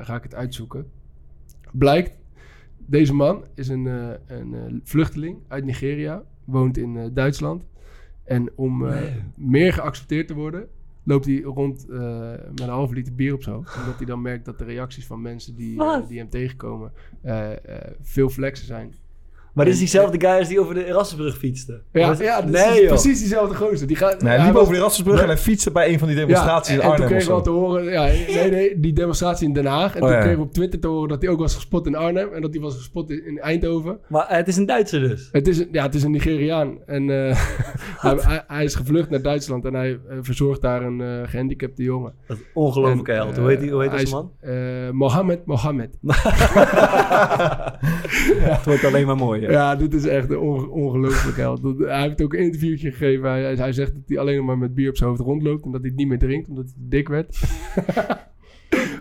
Speaker 3: ga ik het uitzoeken. Blijkt, deze man is een, eh, een eh, vluchteling uit Nigeria, woont in eh, Duitsland. En om eh, meer geaccepteerd te worden, loopt hij rond eh, met een halve liter bier op zijn hoofd. Omdat hij dan merkt dat de reacties van mensen die, eh, die hem tegenkomen eh, eh, veel flexen zijn.
Speaker 4: Maar dit is diezelfde guy als die over de Erasmusbrug fietste.
Speaker 3: Ja,
Speaker 4: Was-
Speaker 3: ja dus
Speaker 4: nee,
Speaker 3: het is
Speaker 4: joh.
Speaker 3: precies diezelfde gozer. Die gaat,
Speaker 2: Nee,
Speaker 3: hij
Speaker 2: hij liep
Speaker 3: was-
Speaker 2: over de Rasmusbrug en hij fietste bij een van die demonstraties
Speaker 3: en-
Speaker 2: in
Speaker 3: en toen
Speaker 2: Arnhem of
Speaker 3: kregen we al
Speaker 2: zo.
Speaker 3: te horen, ja,
Speaker 4: [LAUGHS]
Speaker 3: nee, nee, die demonstratie in Den Haag. En
Speaker 2: Oh,
Speaker 3: toen
Speaker 2: ja.
Speaker 3: kregen we op Twitter te horen dat hij ook was gespot in Arnhem en dat hij was gespot in, in Eindhoven.
Speaker 4: Maar eh, het is een Duitser dus.
Speaker 3: Het is, een- ja, het is een Nigeriaan en eh, [LAUGHS] hij, hij- hij is gevlucht naar Duitsland en hij eh, verzorgt daar een eh, gehandicapte jongen.
Speaker 4: Dat is ongelooflijke
Speaker 3: En,
Speaker 4: held.
Speaker 3: eh,
Speaker 4: Hoe heet, die, hoe heet
Speaker 3: hij
Speaker 4: deze
Speaker 3: is-
Speaker 4: [LAUGHS] man?
Speaker 3: eh, Mohammed Mohammed.
Speaker 4: Het wordt alleen maar mooier.
Speaker 3: Ja, dit is echt een onge- ongelooflijk held. Dat- Hij heeft ook een interviewtje gegeven. Hij, hij zegt dat hij alleen nog maar met bier op zijn hoofd rondloopt. En dat hij het niet meer drinkt, omdat hij te dik
Speaker 2: [LAUGHS]
Speaker 3: werd.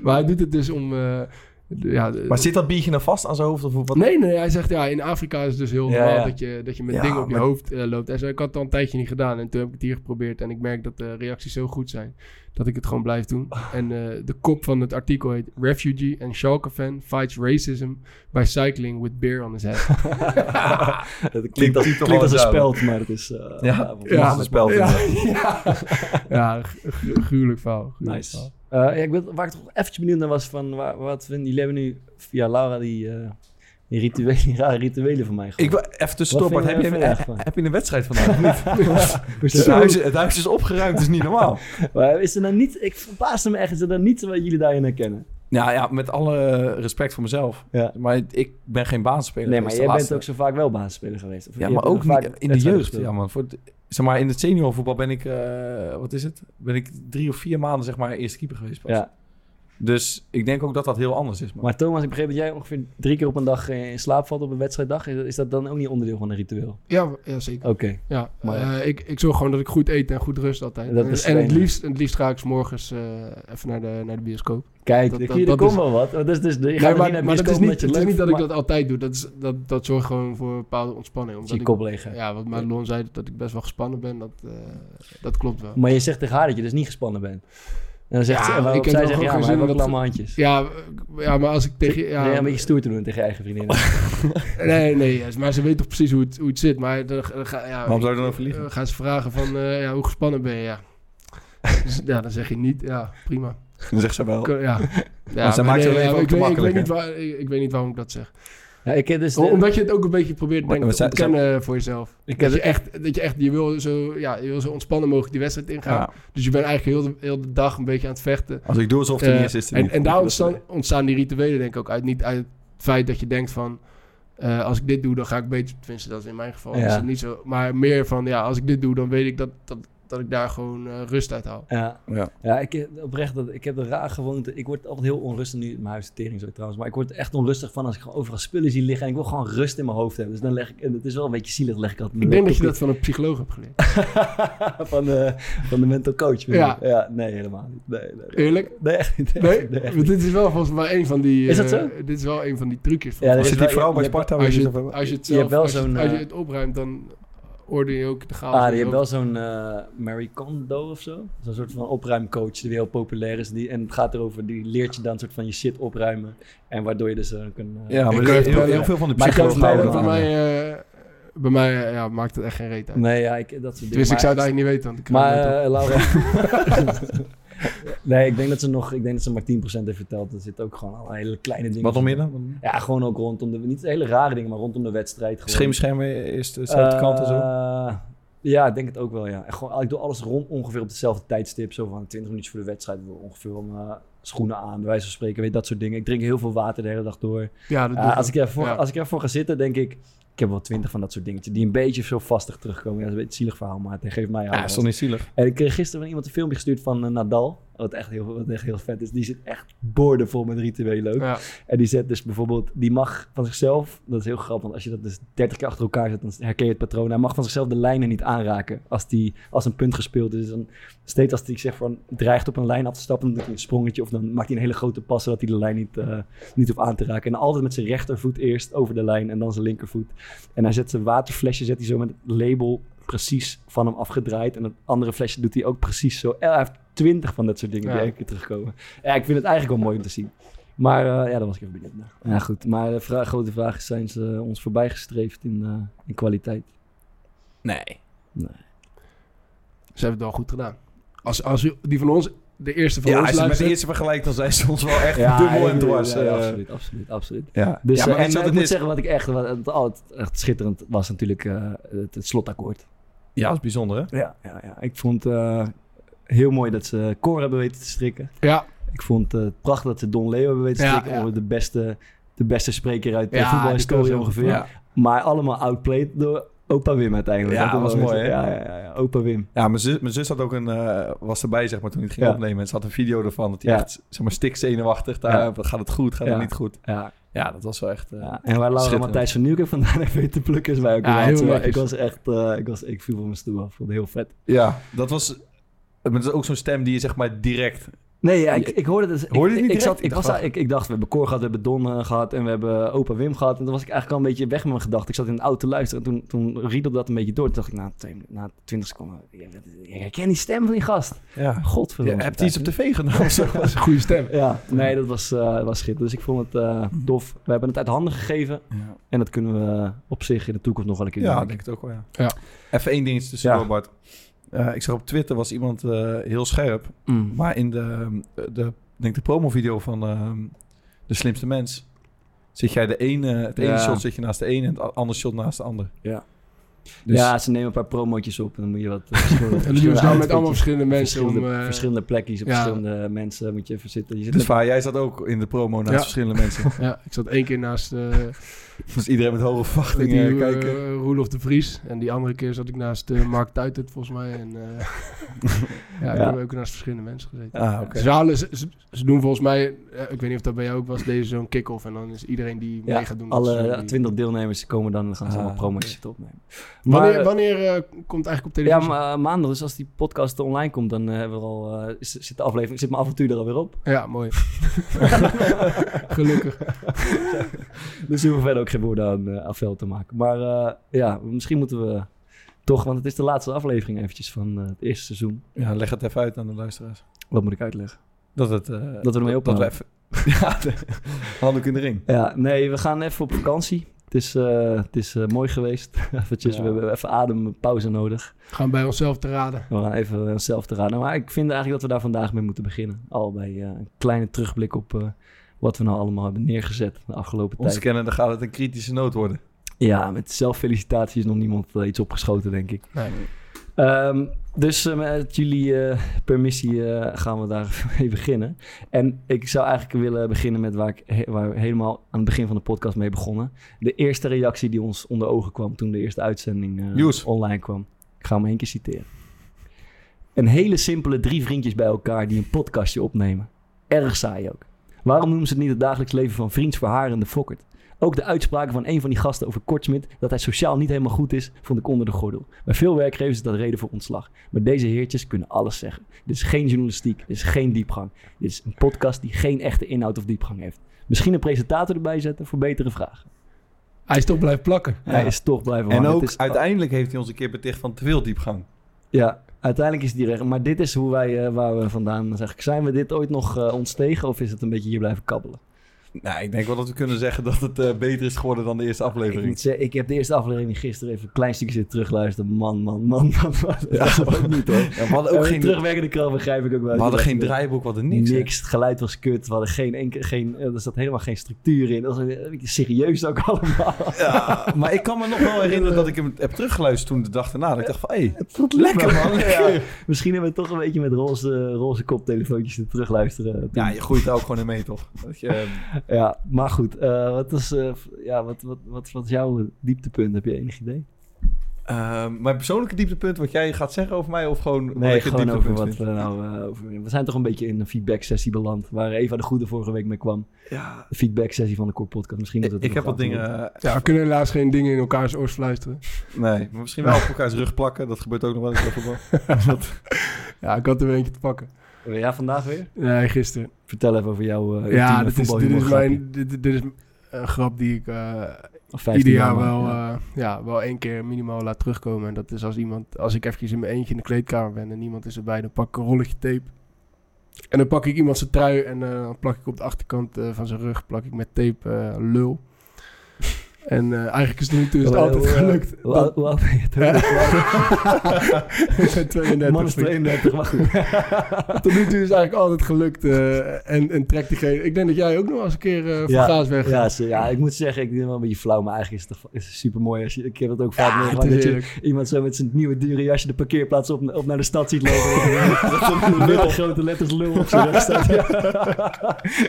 Speaker 3: maar hij doet het dus om... eh, de- ja, de-
Speaker 2: Maar zit dat biertje nou vast aan zijn hoofd? Of wat?
Speaker 3: Nee, nee, hij zegt ja, in Afrika is het dus heel
Speaker 2: Ja,
Speaker 3: normaal
Speaker 2: ja.
Speaker 3: Dat, je, dat je met
Speaker 2: Ja,
Speaker 3: dingen op je
Speaker 2: maar-
Speaker 3: hoofd eh, loopt. En zo, ik had het al een tijdje niet gedaan en toen heb ik het hier geprobeerd. En ik merk dat de reacties zo goed zijn dat ik het gewoon blijf
Speaker 2: [LAUGHS]
Speaker 3: doen. En eh, de kop van het artikel heet Refugee and Schalke fan fights racism by cycling with beer on his head.
Speaker 4: Het klinkt als,
Speaker 2: klinkt toch
Speaker 4: klinkt als een
Speaker 2: wel
Speaker 4: speld, maar het is... eh,
Speaker 2: Ja,
Speaker 4: wat-
Speaker 2: ja. spel.
Speaker 3: ja, ja. ja gu- gu- gruwelijk verhaal. gruwelijk
Speaker 4: Nice.
Speaker 3: verhaal.
Speaker 4: Eh, ja, ik ben, waar ik toch eventjes benieuwd naar was van... Waar, wat vinden jullie hebben nu via Laura die, eh die rituelen, rare rituelen van mij
Speaker 2: Ik
Speaker 4: gehoord.
Speaker 2: wil even tussendoor,
Speaker 4: Wat
Speaker 2: Bart.
Speaker 4: vind
Speaker 2: Heb je,
Speaker 4: je
Speaker 2: heb,
Speaker 4: er vandaag van?
Speaker 2: je een wedstrijd [LAUGHS] vandaag? of niet? het,
Speaker 4: Zo.
Speaker 2: huis, het huis is opgeruimd, dat is niet normaal.
Speaker 4: [LAUGHS] Maar is er dan niet... Ik verbaasde me echt. Is er dan niet wat jullie daarin herkennen?
Speaker 2: Nou ja, met alle respect voor mezelf.
Speaker 4: Ja.
Speaker 2: Maar ik ben geen baanspeler.
Speaker 4: Nee,
Speaker 2: Dat
Speaker 4: maar
Speaker 2: is
Speaker 4: jij
Speaker 2: de
Speaker 4: bent
Speaker 2: laatste.
Speaker 4: ook zo vaak wel basisspeler geweest. Of je
Speaker 2: Ja,
Speaker 4: hebt
Speaker 2: maar ook
Speaker 4: vaak
Speaker 2: niet in de
Speaker 4: wedstrijden
Speaker 2: jeugd.
Speaker 4: gespeeld.
Speaker 2: Ja, man. Voor het- zeg maar, in het seniorvoetbal ben ik, eh, wat is het? Ben ik drie of vier maanden, zeg maar, eerste keeper geweest. pas.
Speaker 4: Ja,
Speaker 2: Dus ik denk ook dat dat heel anders is. man.
Speaker 4: maar Thomas, ik begreep dat jij ongeveer drie keer op een dag eh, in slaap valt op een wedstrijddag. Is, is dat dan ook niet onderdeel van een ritueel?
Speaker 3: Ja, ja, zeker.
Speaker 4: Oké.
Speaker 3: Ja,
Speaker 4: Maar-
Speaker 3: eh, ik, ik zorg gewoon dat ik goed eet en goed rust altijd.
Speaker 4: Dat
Speaker 3: en
Speaker 4: is
Speaker 3: en het,
Speaker 4: fijn.
Speaker 3: liefst, het liefst ga ik 's morgens eh, even naar de, naar de bioscoop.
Speaker 4: Kijk,
Speaker 3: Dat-
Speaker 4: hier
Speaker 3: dat-
Speaker 4: er
Speaker 3: dat
Speaker 4: komt
Speaker 3: is-
Speaker 4: wel wat. Want Dat is dus, je gaat
Speaker 3: Nee,
Speaker 4: er niet naar
Speaker 3: maar,
Speaker 4: de
Speaker 3: maar dat is
Speaker 4: bioscoop
Speaker 3: niet,
Speaker 4: omdat je
Speaker 3: het is
Speaker 4: leuk
Speaker 3: niet dat
Speaker 4: vindt,
Speaker 3: ik dat altijd doe. Dat, is, dat, dat zorgt gewoon voor een bepaalde ontspanning.
Speaker 4: maar
Speaker 3: Omdat
Speaker 4: je
Speaker 3: ik-
Speaker 4: kop leeg hebt.
Speaker 3: ja, wat Marlon zei, dat ik best wel gespannen ben, dat, eh, dat klopt wel.
Speaker 4: Maar je zegt tegen haar dat je dus niet gespannen bent. En dan zegt
Speaker 3: Ja,
Speaker 4: ze, waarop
Speaker 3: ik heb
Speaker 4: zij
Speaker 3: wel
Speaker 4: zegt,
Speaker 3: gewoon
Speaker 4: ja, maar
Speaker 3: geen
Speaker 4: hij
Speaker 3: zin
Speaker 4: heeft
Speaker 3: om
Speaker 4: ook
Speaker 3: dat-
Speaker 4: klamme handjes.
Speaker 3: Ja, eh, ja, maar als ik tegen...
Speaker 4: Ja,
Speaker 3: Ja,
Speaker 4: nee, een beetje stoer te doen tegen je eigen vriendin.
Speaker 3: [LAUGHS] nee, nee, ja, maar ze weet toch precies hoe het, hoe het zit. Maar dan, dan ga, ja,
Speaker 2: Waarom zou je dan over liegen?
Speaker 3: eh, gaan ze vragen van, eh, ja, hoe gespannen ben je? Ja. Dus, ja, dan zeg je niet. Ja, prima. eh,
Speaker 2: Dan zegt ze wel.
Speaker 3: Ja, ja
Speaker 2: zij
Speaker 3: maar
Speaker 2: maakt Oh, het leven ook te
Speaker 3: ik, weet, ik, weet
Speaker 2: makkelijk,
Speaker 3: niet waar, ik, ik weet niet waarom ik dat zeg.
Speaker 4: Ja, ik heb dus...
Speaker 3: Om- Omdat je het ook een beetje probeert denk,
Speaker 2: Maar
Speaker 3: ik,
Speaker 2: zij-
Speaker 3: te ontkennen voor jezelf.
Speaker 4: Ik heb
Speaker 3: dat, je echt, dat je echt, je wil zo, ja, je wil zo ontspannen mogelijk die wedstrijd ingaan.
Speaker 2: Ja.
Speaker 3: Dus je bent eigenlijk heel de, heel de dag een beetje aan het vechten.
Speaker 2: Als ik doe alsof het er
Speaker 3: Eh,
Speaker 2: niet is, is het er
Speaker 3: en,
Speaker 2: niet.
Speaker 3: en daar
Speaker 2: Dat-
Speaker 3: ontstaan, ontstaan die rituelen denk ik ook uit. Niet uit het feit dat je denkt van... eh, als ik dit doe, dan ga ik beter... Tenminste, dat is in mijn geval
Speaker 4: Ja.
Speaker 3: is dat niet zo. Maar meer van, ja, als ik dit doe, dan weet ik dat, dat, dat ik daar gewoon eh, rust uit haal.
Speaker 4: Ja,
Speaker 2: Ja.
Speaker 4: ja ik, heb oprecht, dat- ik heb een raar gewoonte. Ik word altijd heel onrustig nu. Mijn huis is tering zo trouwens. Maar ik word er echt onrustig van als ik gewoon overal spullen zie liggen. En ik wil gewoon rust in mijn hoofd hebben. Dus dan leg ik... En het is wel een beetje zielig, leg ik altijd
Speaker 3: Ik
Speaker 4: mijn
Speaker 3: denk dat je dat
Speaker 4: laptop
Speaker 3: van een psycholoog hebt geleerd. [LAUGHS]
Speaker 4: in. [LAUGHS] van, de, van de mental coach. bedoel
Speaker 3: Ja.
Speaker 4: ik. ja. Nee, helemaal niet. Nee, nee, nee.
Speaker 3: Eerlijk?
Speaker 4: Nee, echt niet.
Speaker 3: Nee?
Speaker 4: Nee, echt
Speaker 3: Want dit is wel volgens mij een van die...
Speaker 4: Is dat
Speaker 3: eh,
Speaker 4: zo?
Speaker 3: dit is wel een van die trucjes. Van
Speaker 4: Ja,
Speaker 2: Als je
Speaker 4: Er
Speaker 2: die
Speaker 4: is wel-
Speaker 2: vrouw bij
Speaker 4: je hebt-
Speaker 2: Sparta
Speaker 3: als,
Speaker 2: wil
Speaker 3: je,
Speaker 2: je-
Speaker 3: als je het
Speaker 4: je
Speaker 3: zelf...
Speaker 4: hebt wel
Speaker 3: Als je,
Speaker 4: zo'n,
Speaker 3: als je
Speaker 4: eh,
Speaker 3: het opruimt, dan Orde je ook de chaos.
Speaker 4: Ah, die hebben wel zo'n eh Mary Kondo of zo. Zo'n soort van opruimcoach die weer heel populair is. Die, en het gaat erover, die leert je dan een soort van je shit opruimen. En waardoor je dus dan kan... eh,
Speaker 2: Ja, maar
Speaker 3: Ik
Speaker 2: heel,
Speaker 3: weet
Speaker 2: heel,
Speaker 3: het wel,
Speaker 2: veel van de
Speaker 4: Maar ik kan het
Speaker 2: psychologen
Speaker 4: wel
Speaker 2: houden
Speaker 3: bij
Speaker 2: aan.
Speaker 3: mij, eh, bij mij eh, ja, maakt het echt geen reet uit.
Speaker 4: Nee, ja, ik, dat soort dingen.
Speaker 3: Tenminste, dus ik zou
Speaker 4: Maar-
Speaker 3: het eigenlijk niet weten. Want ik
Speaker 4: Maar
Speaker 3: weet het
Speaker 4: eh, Laura. nee, ik denk dat ze nog. Ik denk dat ze maar 10% heeft verteld. Er zitten ook gewoon al hele kleine dingen.
Speaker 2: eh, Wat nog meer dan?
Speaker 4: Ja, gewoon ook rondom de. Niet hele rare dingen, maar rondom de wedstrijd. Gewoon.
Speaker 2: Scheemschermen is de de kant en zo.
Speaker 4: Eh, Ja, ik denk het ook wel. Ja. En Gewoon, ik doe alles rond ongeveer op dezelfde tijdstip. Zo van 20 minuutjes voor de wedstrijd. Ongeveer om eh, schoenen aan, bij wijze van spreken. Weet, dat soort dingen. Ik drink heel veel water de hele dag door.
Speaker 3: ja, dat doe
Speaker 4: Ja, eh, als, ik ervoor,
Speaker 3: Ja.
Speaker 4: als ik ervoor ga zitten, denk ik. Ik heb wel 20 van dat soort dingetjes. Die een beetje zo vastig terugkomen. Ja, dat is een beetje een zielig verhaal, maar het geeft mij
Speaker 2: Ja,
Speaker 4: houvast.
Speaker 2: is toch niet zielig?
Speaker 4: En ik kreeg gisteren van iemand een filmpje gestuurd van eh, Nadal. Wat echt, heel, wat echt heel vet is. Die zit echt boordevol met rituelen ook.
Speaker 3: Ja.
Speaker 4: En die zet dus bijvoorbeeld... Die mag van zichzelf... Dat is heel grappig. Want als je dat dus 30 keer achter elkaar zet... Dan herken je het patroon. Hij mag van zichzelf de lijnen niet aanraken. Als, die, als een punt gespeeld is. Dan steeds als hij zeg van... Dreigt op een lijn af te stappen. Dan doet hij een sprongetje. Of dan maakt hij een hele grote pas. Zodat hij de lijn niet, eh, niet op aan te raken. En altijd met zijn rechtervoet eerst over de lijn. En dan zijn linkervoet. En hij zet zijn waterflesje, zet hij zo met het label precies van hem afgedraaid. En het andere flesje doet hij ook precies zo. En Hij heeft twintig van dat soort dingen
Speaker 3: Ja.
Speaker 4: die elke keer terugkomen. Ja, ik vind het eigenlijk wel mooi om te zien. Maar eh, ja, daar was ik even benieuwd naar. Ja, goed. Maar de vraag, grote vraag is, zijn ze ons voorbij gestreefd in, eh, in kwaliteit?
Speaker 1: Nee.
Speaker 3: Ze hebben het wel goed gedaan. Als, als u- die van ons, de eerste van ons luistert,
Speaker 2: eerste vergelijkt, dan zijn ze ons wel echt
Speaker 4: Ja,
Speaker 2: eh,
Speaker 4: absoluut, absoluut, absoluut.
Speaker 2: Ja,
Speaker 4: Dus,
Speaker 2: ja maar
Speaker 4: eh,
Speaker 2: weet je wat
Speaker 4: en ik
Speaker 2: het
Speaker 4: moet
Speaker 2: is?
Speaker 4: zeggen wat ik echt, wat, het, altijd echt schitterend was natuurlijk eh, het, het slotakkoord.
Speaker 2: Ja, dat is bijzonder, hè?
Speaker 4: Ja, ja, ja. ik vond eh, heel mooi dat ze Cor hebben weten te strikken.
Speaker 3: Ja.
Speaker 4: Ik vond het eh, prachtig dat ze Don Leo hebben weten te
Speaker 3: Ja,
Speaker 4: strikken.
Speaker 3: ja.
Speaker 4: Ongeveer De, beste, de beste spreker uit de
Speaker 3: Ja, die
Speaker 4: voetbalhistorie
Speaker 3: kan zo.
Speaker 4: ongeveer.
Speaker 2: Ja.
Speaker 4: Maar allemaal outplayed door opa Wim uiteindelijk.
Speaker 2: Ja,
Speaker 4: was
Speaker 2: was
Speaker 4: wel
Speaker 2: mooi,
Speaker 4: eens-
Speaker 2: hè?
Speaker 4: Ja, ja, ja, ja, opa Wim.
Speaker 2: Ja, mijn zus, mijn zus had ook een, eh, was erbij, zeg maar, toen ik het ging
Speaker 4: Ja.
Speaker 2: opnemen. En ze had een video ervan dat hij
Speaker 4: Ja.
Speaker 2: echt, zeg maar, stikzenuwachtig daar,
Speaker 4: Ja.
Speaker 2: gaat het goed, gaat
Speaker 4: Ja.
Speaker 2: het niet goed.
Speaker 4: Ja,
Speaker 2: Ja, dat was wel echt... eh,
Speaker 4: ja. En waar Laura
Speaker 2: Schitterend.
Speaker 4: Matthijs van Nieuwkerk vandaan [LAUGHS] heeft weten te plukken is wij ook
Speaker 3: Ja,
Speaker 4: wel.
Speaker 3: heel
Speaker 4: Terwijl
Speaker 3: netjes.
Speaker 4: Ik was echt, eh, ik, was, ik viel van mijn stoel af. Vond het heel vet.
Speaker 2: Ja, dat was... Maar dat is ook zo'n stem die je, zeg maar, direct...
Speaker 4: Nee, ja, ik, ik hoorde het.
Speaker 2: Hoorde je het
Speaker 4: ik,
Speaker 2: niet
Speaker 4: ik,
Speaker 2: direct?
Speaker 4: zat, ik,
Speaker 2: Ik
Speaker 4: was,
Speaker 2: dacht-
Speaker 4: daar- ik, ik dacht, we hebben Cor gehad, we hebben Don eh, gehad en we hebben Opa Wim gehad. En toen was ik eigenlijk al een beetje weg met mijn gedachten. Ik zat in de auto te luisteren en toen, toen riedelde dat een beetje door. Toen dacht ik, na, twee, na 20 seconden, ik herken die stem van die gast.
Speaker 2: Ja. Je
Speaker 4: Godverdomme.
Speaker 2: hebt iets op tv [LAUGHS] gedaan of zo.
Speaker 3: dat is een goede stem.
Speaker 4: Ja, nee, dat was, eh, was schitterend. Dus ik vond het eh, tof. We hebben het uit handen gegeven
Speaker 2: Ja.
Speaker 4: en dat kunnen we eh, op zich in de toekomst nog wel een keer
Speaker 2: Ja, ik
Speaker 4: doen.
Speaker 2: denk het ook wel, ja.
Speaker 3: Ja.
Speaker 2: Even één dingetje tussendoor,
Speaker 4: Ja.
Speaker 2: Bart. Eh, ik zag op Twitter was iemand eh, heel scherp.
Speaker 4: Mm.
Speaker 2: Maar in de, eh, de, ik denk de promovideo van ehm, De Slimste Mens... zit jij de ene, het ene
Speaker 4: Ja.
Speaker 2: shot zit je naast de ene... en het a- andere shot naast de ander.
Speaker 4: Ja.
Speaker 2: Dus,
Speaker 4: Ja, ze nemen een paar promotjes op en dan moet je wat... eh, verschillende-
Speaker 3: En dat doen ze dan
Speaker 4: [LAUGHS]
Speaker 3: met
Speaker 4: outfitjes,
Speaker 3: allemaal verschillende mensen
Speaker 4: Verschillende,
Speaker 3: om... eh,
Speaker 4: verschillende plekjes op
Speaker 3: ja.
Speaker 4: verschillende mensen moet je even zitten. Je zit
Speaker 2: dus
Speaker 4: met-
Speaker 2: Vaar, jij zat ook in de promo naast
Speaker 3: Ja.
Speaker 2: verschillende
Speaker 3: [LAUGHS]
Speaker 2: mensen.
Speaker 3: Ja, ik zat één keer naast
Speaker 4: [LAUGHS]
Speaker 3: eh
Speaker 2: Dus iedereen met hoge
Speaker 3: die,
Speaker 2: verwachtingen
Speaker 3: eh,
Speaker 2: kijken.
Speaker 3: Roelof de Vries. En die andere keer zat ik naast eh, Mark Tuitert, volgens mij. En,
Speaker 4: [LAUGHS]
Speaker 3: eh, ja, ik
Speaker 4: Ja.
Speaker 3: heb ook naast verschillende mensen gezeten.
Speaker 2: Ah, oké.
Speaker 3: Ze, halen- ze, ze- ze doen volgens mij, eh, ik weet niet of dat bij jou ook was, deze zo'n kick-off. En dan is iedereen die
Speaker 4: Ja,
Speaker 3: mee gaat doen. dat is
Speaker 4: Alle
Speaker 3: zo die-
Speaker 4: 20 deelnemers komen dan en gaan ze
Speaker 2: Ah,
Speaker 4: allemaal promo's
Speaker 2: oké.
Speaker 4: zitten opnemen. Maar,
Speaker 3: Wanneer, wanneer eh, komt eigenlijk op
Speaker 4: ja,
Speaker 3: televisie?
Speaker 4: maar, eh, maandag, dus als die podcast online komt, dan eh, hebben we al, eh, is- zit de aflevering, zit mijn avontuur er alweer op.
Speaker 3: Ja, mooi. [LAUGHS] Gelukkig.
Speaker 4: Dus we hoeven verder ook geen woorden aan eh, aan vuil te maken. Maar eh, ja, misschien moeten we toch, want het is de laatste aflevering eventjes van eh, het eerste seizoen.
Speaker 2: Ja, leg het even uit aan de luisteraars.
Speaker 4: Wat moet ik uitleggen?
Speaker 2: Dat, het, eh,
Speaker 4: Dat we ermee
Speaker 2: dat we
Speaker 4: ophouden.
Speaker 2: even... [LAUGHS] Ja, de- handdoek in de ring.
Speaker 4: Ja, nee, we gaan even op vakantie. Het is, eh, het is eh, mooi geweest. [LAUGHS] eventjes,
Speaker 2: Ja.
Speaker 4: We hebben even adempauze nodig.
Speaker 3: Gaan bij onszelf te raden.
Speaker 4: We gaan even eh, onszelf te raden. Maar ik vind eigenlijk dat we daar vandaag mee moeten beginnen. Al bij eh, een kleine terugblik op eh, wat we nou allemaal hebben neergezet de afgelopen
Speaker 2: Ons
Speaker 4: tijd.
Speaker 2: kennende gaat het een kritische noot worden.
Speaker 4: Ja, met zelffelicitatie is nog niemand eh, iets opgeschoten, denk ik.
Speaker 3: Nee.
Speaker 4: Ehm, dus eh, met jullie eh, permissie eh, gaan we daar [LAUGHS] mee beginnen. En ik zou eigenlijk willen beginnen met waar ik he- waar we helemaal aan het begin van de podcast mee begonnen. De eerste reactie die ons onder ogen kwam toen de eerste uitzending eh,
Speaker 2: Joes.
Speaker 4: online kwam. Ik ga hem één keer citeren. Een hele simpele drie vriendjes bij elkaar die een podcastje opnemen. Erg saai ook. Waarom noemen ze het niet het dagelijks leven van vriends Verhaar en de Fokkert? Ook de uitspraken van een van die gasten over Kortsmit dat hij sociaal niet helemaal goed is, vond ik onder de gordel. Bij veel werkgevers is dat reden voor ontslag. Maar deze heertjes kunnen alles zeggen. Dit is geen journalistiek, dit is geen diepgang. Dit is een podcast die geen echte inhoud of diepgang heeft. Misschien een presentator erbij zetten voor betere vragen.
Speaker 3: Hij is toch blijven plakken.
Speaker 4: Hij is toch blijven
Speaker 2: En
Speaker 4: hangen.
Speaker 2: ook
Speaker 4: Het is- oh.
Speaker 2: uiteindelijk heeft hij ons een keer beticht van te veel diepgang.
Speaker 4: Ja, uiteindelijk is die recht. Maar dit is hoe wij, eh, waar we vandaan zeg ik, Zijn we dit ooit nog eh, ontstegen of is het een beetje hier blijven kabbelen?
Speaker 2: Nou, ik denk wel dat we kunnen zeggen dat het eh, beter is geworden dan de eerste
Speaker 4: Ik,
Speaker 2: aflevering.
Speaker 4: moet zeggen, ik heb de eerste aflevering gisteren even een klein stukje zitten terugluisteren. Man, man, man, man. man. Dat was het ook
Speaker 2: [LAUGHS]
Speaker 4: niet hoor.
Speaker 2: Ja, we hadden
Speaker 4: En
Speaker 2: ook
Speaker 4: met
Speaker 2: geen, we
Speaker 4: terugwerkende kracht begrijp ik ook wel.
Speaker 2: hadden
Speaker 4: Dat
Speaker 2: geen
Speaker 4: je-
Speaker 2: draaiboek, we hadden niks.
Speaker 4: Niks,
Speaker 2: hè.
Speaker 4: Het geluid was kut. We hadden geen enkele, geen, eh, er zat helemaal geen structuur in. Dat was een beetje serieus ook allemaal.
Speaker 2: Ja, maar ik kan me nog wel herinneren dat ik hem heb teruggeluisterd toen de dag erna. [LAUGHS] Dat ik dacht van, hé, hey,
Speaker 4: Het voelt
Speaker 2: lekker
Speaker 4: [LAUGHS]
Speaker 2: man. Ja.
Speaker 4: Misschien hebben we toch een beetje met roze, roze koptelefoontjes te terugluisteren.
Speaker 2: ja, je groeit er ook gewoon in mee, toch? Dat je, eh,
Speaker 4: Ja, maar goed. eh, wat, is, eh, f- ja, wat, wat, wat, wat is jouw dieptepunt? Heb je enig idee?
Speaker 2: eh, mijn persoonlijke dieptepunt, wat jij gaat zeggen over mij, of gewoon wat
Speaker 4: Nee,
Speaker 2: ik het
Speaker 4: gewoon over
Speaker 2: dieptepunt
Speaker 4: wat
Speaker 2: vind?
Speaker 4: we nou... eh, over, we zijn toch een beetje in een feedback sessie beland. Waar Eva de Goede vorige week mee kwam.
Speaker 2: Ja,
Speaker 4: Een feedback sessie van de Kort Podcast. Misschien dat
Speaker 2: ik,
Speaker 4: het
Speaker 2: ik
Speaker 4: er
Speaker 2: heb
Speaker 4: nog
Speaker 2: wat
Speaker 4: aan toe
Speaker 2: dingen... eh,
Speaker 3: Ja, we kunnen helaas geen dingen in elkaars oors [LAUGHS] fluisteren.
Speaker 2: Nee, maar misschien wel op elkaars rug plakken. Dat gebeurt ook nog wel eens. overal.
Speaker 3: Ja, ik had er eentje te pakken.
Speaker 4: komt. Ja, vandaag weer?
Speaker 3: Nee, gisteren.
Speaker 4: Vertel even over jouw eh
Speaker 3: ja,
Speaker 4: ultieme
Speaker 3: dit is, dit
Speaker 4: voetbalhumor
Speaker 3: is
Speaker 4: grapje.
Speaker 3: mijn. Dit, dit is een grap die ik eh,
Speaker 4: Of 15
Speaker 3: ieder jaar
Speaker 4: maar,
Speaker 3: wel,
Speaker 4: ja.
Speaker 3: eh, ja, wel één keer minimaal laat terugkomen. En dat is als iemand, als ik eventjes in mijn eentje in de kleedkamer ben en niemand is erbij, dan pak ik een rolletje tape. En dan pak ik iemand zijn trui en eh, dan plak ik op de achterkant eh, van zijn rug plak ik met tape eh, lul. [LAUGHS] En eh, eigenlijk is het nu toe is het
Speaker 4: Hoe-
Speaker 3: altijd
Speaker 4: hoe, eh,
Speaker 3: gelukt.
Speaker 4: Hoe oud- hoe oud ben je toen?
Speaker 3: Ik ben 32.
Speaker 4: Man is 32, maar goed.
Speaker 3: Tot nu toe is het eigenlijk altijd gelukt. eh, en, en trekt diegene. Ik denk dat jij ook nog eens een keer eh voor
Speaker 4: Ja,
Speaker 3: gaas weg
Speaker 4: Ja, ze- ja, ik moet zeggen, ik ben wel een beetje flauw, maar eigenlijk is het, toch- is het super mooi. Als je, ik heb dat ook vaak
Speaker 3: Ja, het
Speaker 4: meegemaakt,
Speaker 3: is
Speaker 4: dat je
Speaker 3: heerlijk.
Speaker 4: iemand zo met zijn nieuwe dure jasje de parkeerplaats op, op naar de stad ziet [LAUGHS] lopen. Dat zo'n lul, grote letters lul op zijn rug [LAUGHS] staat. Ja.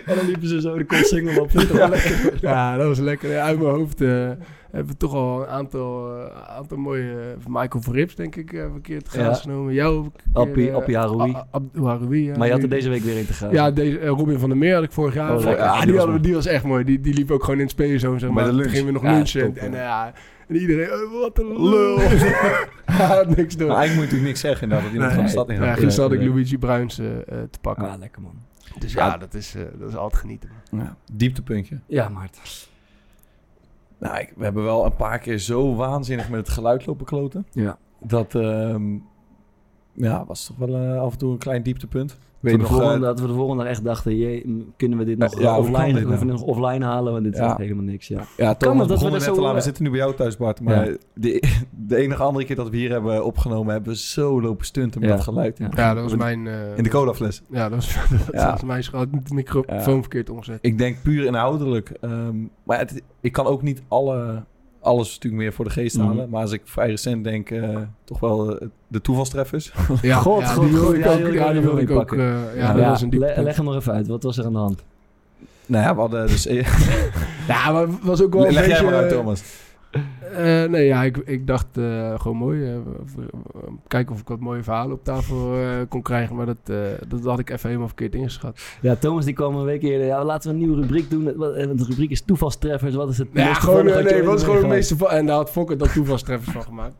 Speaker 4: en dan liepen ze zo de kotsingel op. Ja.
Speaker 3: Ja, dat was lekker. Ja, uit mijn hoofd eh, hebben we toch al een aantal, eh, aantal mooie... eh, Michael Verrips, denk ik, heb ik een keer het gaas
Speaker 4: Ja.
Speaker 3: genomen. Jou heb ik een keer,
Speaker 4: Appie,
Speaker 3: eh,
Speaker 4: Appie Haroui.
Speaker 3: A- A- Abdou Haroui, ja.
Speaker 4: Maar je had er
Speaker 3: Die-
Speaker 4: deze week weer in te gaan.
Speaker 3: Ja, deze, eh, Robin van der Meer had ik vorig jaar.
Speaker 4: Oh,
Speaker 3: Vorig-
Speaker 4: lekker.
Speaker 3: ja,
Speaker 4: Die
Speaker 3: die,
Speaker 4: was
Speaker 3: hadden we, die was echt mooi. Die, die liep ook gewoon in het speelzoon, zeg
Speaker 2: Bij
Speaker 3: maar.
Speaker 2: de
Speaker 3: Toen
Speaker 2: lunch.
Speaker 3: gingen we nog
Speaker 4: Ja,
Speaker 3: lunchen.
Speaker 4: top,
Speaker 3: en, en,
Speaker 4: ja.
Speaker 3: ja, en iedereen, eh, wat een
Speaker 2: [LAUGHS]
Speaker 3: lul. Hij had niks door.
Speaker 2: Maar eigenlijk moet je natuurlijk niks zeggen inderdaad, dat iemand van de stad in
Speaker 3: ja,
Speaker 2: gaat.
Speaker 3: gisteren had ik
Speaker 4: nee.
Speaker 3: Luigi Bruins eh, eh, te pakken.
Speaker 4: Ah, lekker man.
Speaker 3: Dus ja, dat is, eh, dat is altijd genieten.
Speaker 2: Ja, Dieptepuntje.
Speaker 4: Ja, Maarten.
Speaker 2: Nou, ik- we hebben wel een paar keer zo waanzinnig met het geluid lopen kloten.
Speaker 4: Ja.
Speaker 2: Dat ehm, ja, was toch wel eh, af en toe een klein dieptepunt. Ik
Speaker 4: Voor
Speaker 2: Weet
Speaker 4: de
Speaker 2: nog, eh,
Speaker 4: volgende, dat we de volgende dag echt dachten, jee, m- kunnen we dit nog,
Speaker 2: Ja, ja,
Speaker 4: eh,
Speaker 2: hoe kan
Speaker 4: offline,
Speaker 2: dit nou?
Speaker 4: we kunnen nog offline halen? Want dit is
Speaker 2: Ja.
Speaker 4: echt helemaal niks, ja.
Speaker 2: ja, Thomas
Speaker 4: kan het dat we
Speaker 2: begon
Speaker 4: dat
Speaker 2: er net
Speaker 4: zo,
Speaker 2: te laten. We
Speaker 4: eh,
Speaker 2: zitten nu bij jou thuis, Bart. Maar de, de enige andere keer dat we hier hebben opgenomen, hebben we zo lopen stunten met
Speaker 4: Ja.
Speaker 2: dat geluid.
Speaker 4: Ja.
Speaker 3: Ja, dat was mijn... eh,
Speaker 2: In de colafles.
Speaker 3: Ja, dat was, [LAUGHS] dat
Speaker 2: Ja.
Speaker 3: was mijn schuld. Ik heb De microfoon
Speaker 2: Ja. [LAUGHS]
Speaker 3: verkeerd omgezet.
Speaker 2: Ik denk puur inhoudelijk. ehm, maar het, ik kan ook niet alle, alles natuurlijk meer voor de geest halen.
Speaker 4: Mhm.
Speaker 2: Maar als ik vrij recent denk, eh, toch wel eh, de toevalstreffers.
Speaker 3: Ja,
Speaker 4: God,
Speaker 3: ja,
Speaker 4: God,
Speaker 3: die wilde
Speaker 4: God,
Speaker 3: ik
Speaker 4: ja,
Speaker 3: ook-
Speaker 4: die wil ik
Speaker 3: ja,
Speaker 4: ook
Speaker 3: die wilde ik
Speaker 4: nog
Speaker 3: ook.
Speaker 4: inpakken.
Speaker 3: eh, Ja, dat was een
Speaker 4: le-
Speaker 3: diepe.
Speaker 4: leg hem nog even uit. Wat was er aan de hand?
Speaker 2: [LAUGHS] nou ja, we hadden dus...
Speaker 3: Ja, maar het was ook wel een
Speaker 2: Leg jij
Speaker 3: beetje,
Speaker 2: maar uit,
Speaker 3: eh,
Speaker 2: Thomas.
Speaker 3: eh, nee, ja, ik, ik dacht eh, gewoon mooi. eh, v- v- kijken of ik wat mooie verhalen op tafel eh, kon krijgen. Maar dat, eh, dat had ik even helemaal verkeerd ingeschat.
Speaker 4: Ja, Thomas die kwam een week eerder. Ja, laten we een nieuwe rubriek doen. Wat- eh, Want de rubriek is toevalstreffers. Wat is het
Speaker 3: Ja,
Speaker 4: meest
Speaker 3: gewoon,
Speaker 4: toevallig
Speaker 3: eh,
Speaker 4: wat je
Speaker 3: nee,
Speaker 4: ooit
Speaker 3: was
Speaker 4: hebt
Speaker 3: gewoon het
Speaker 4: meegemaakt?
Speaker 3: meeste van. En daar had Fokker dan toevalstreffers van gemaakt.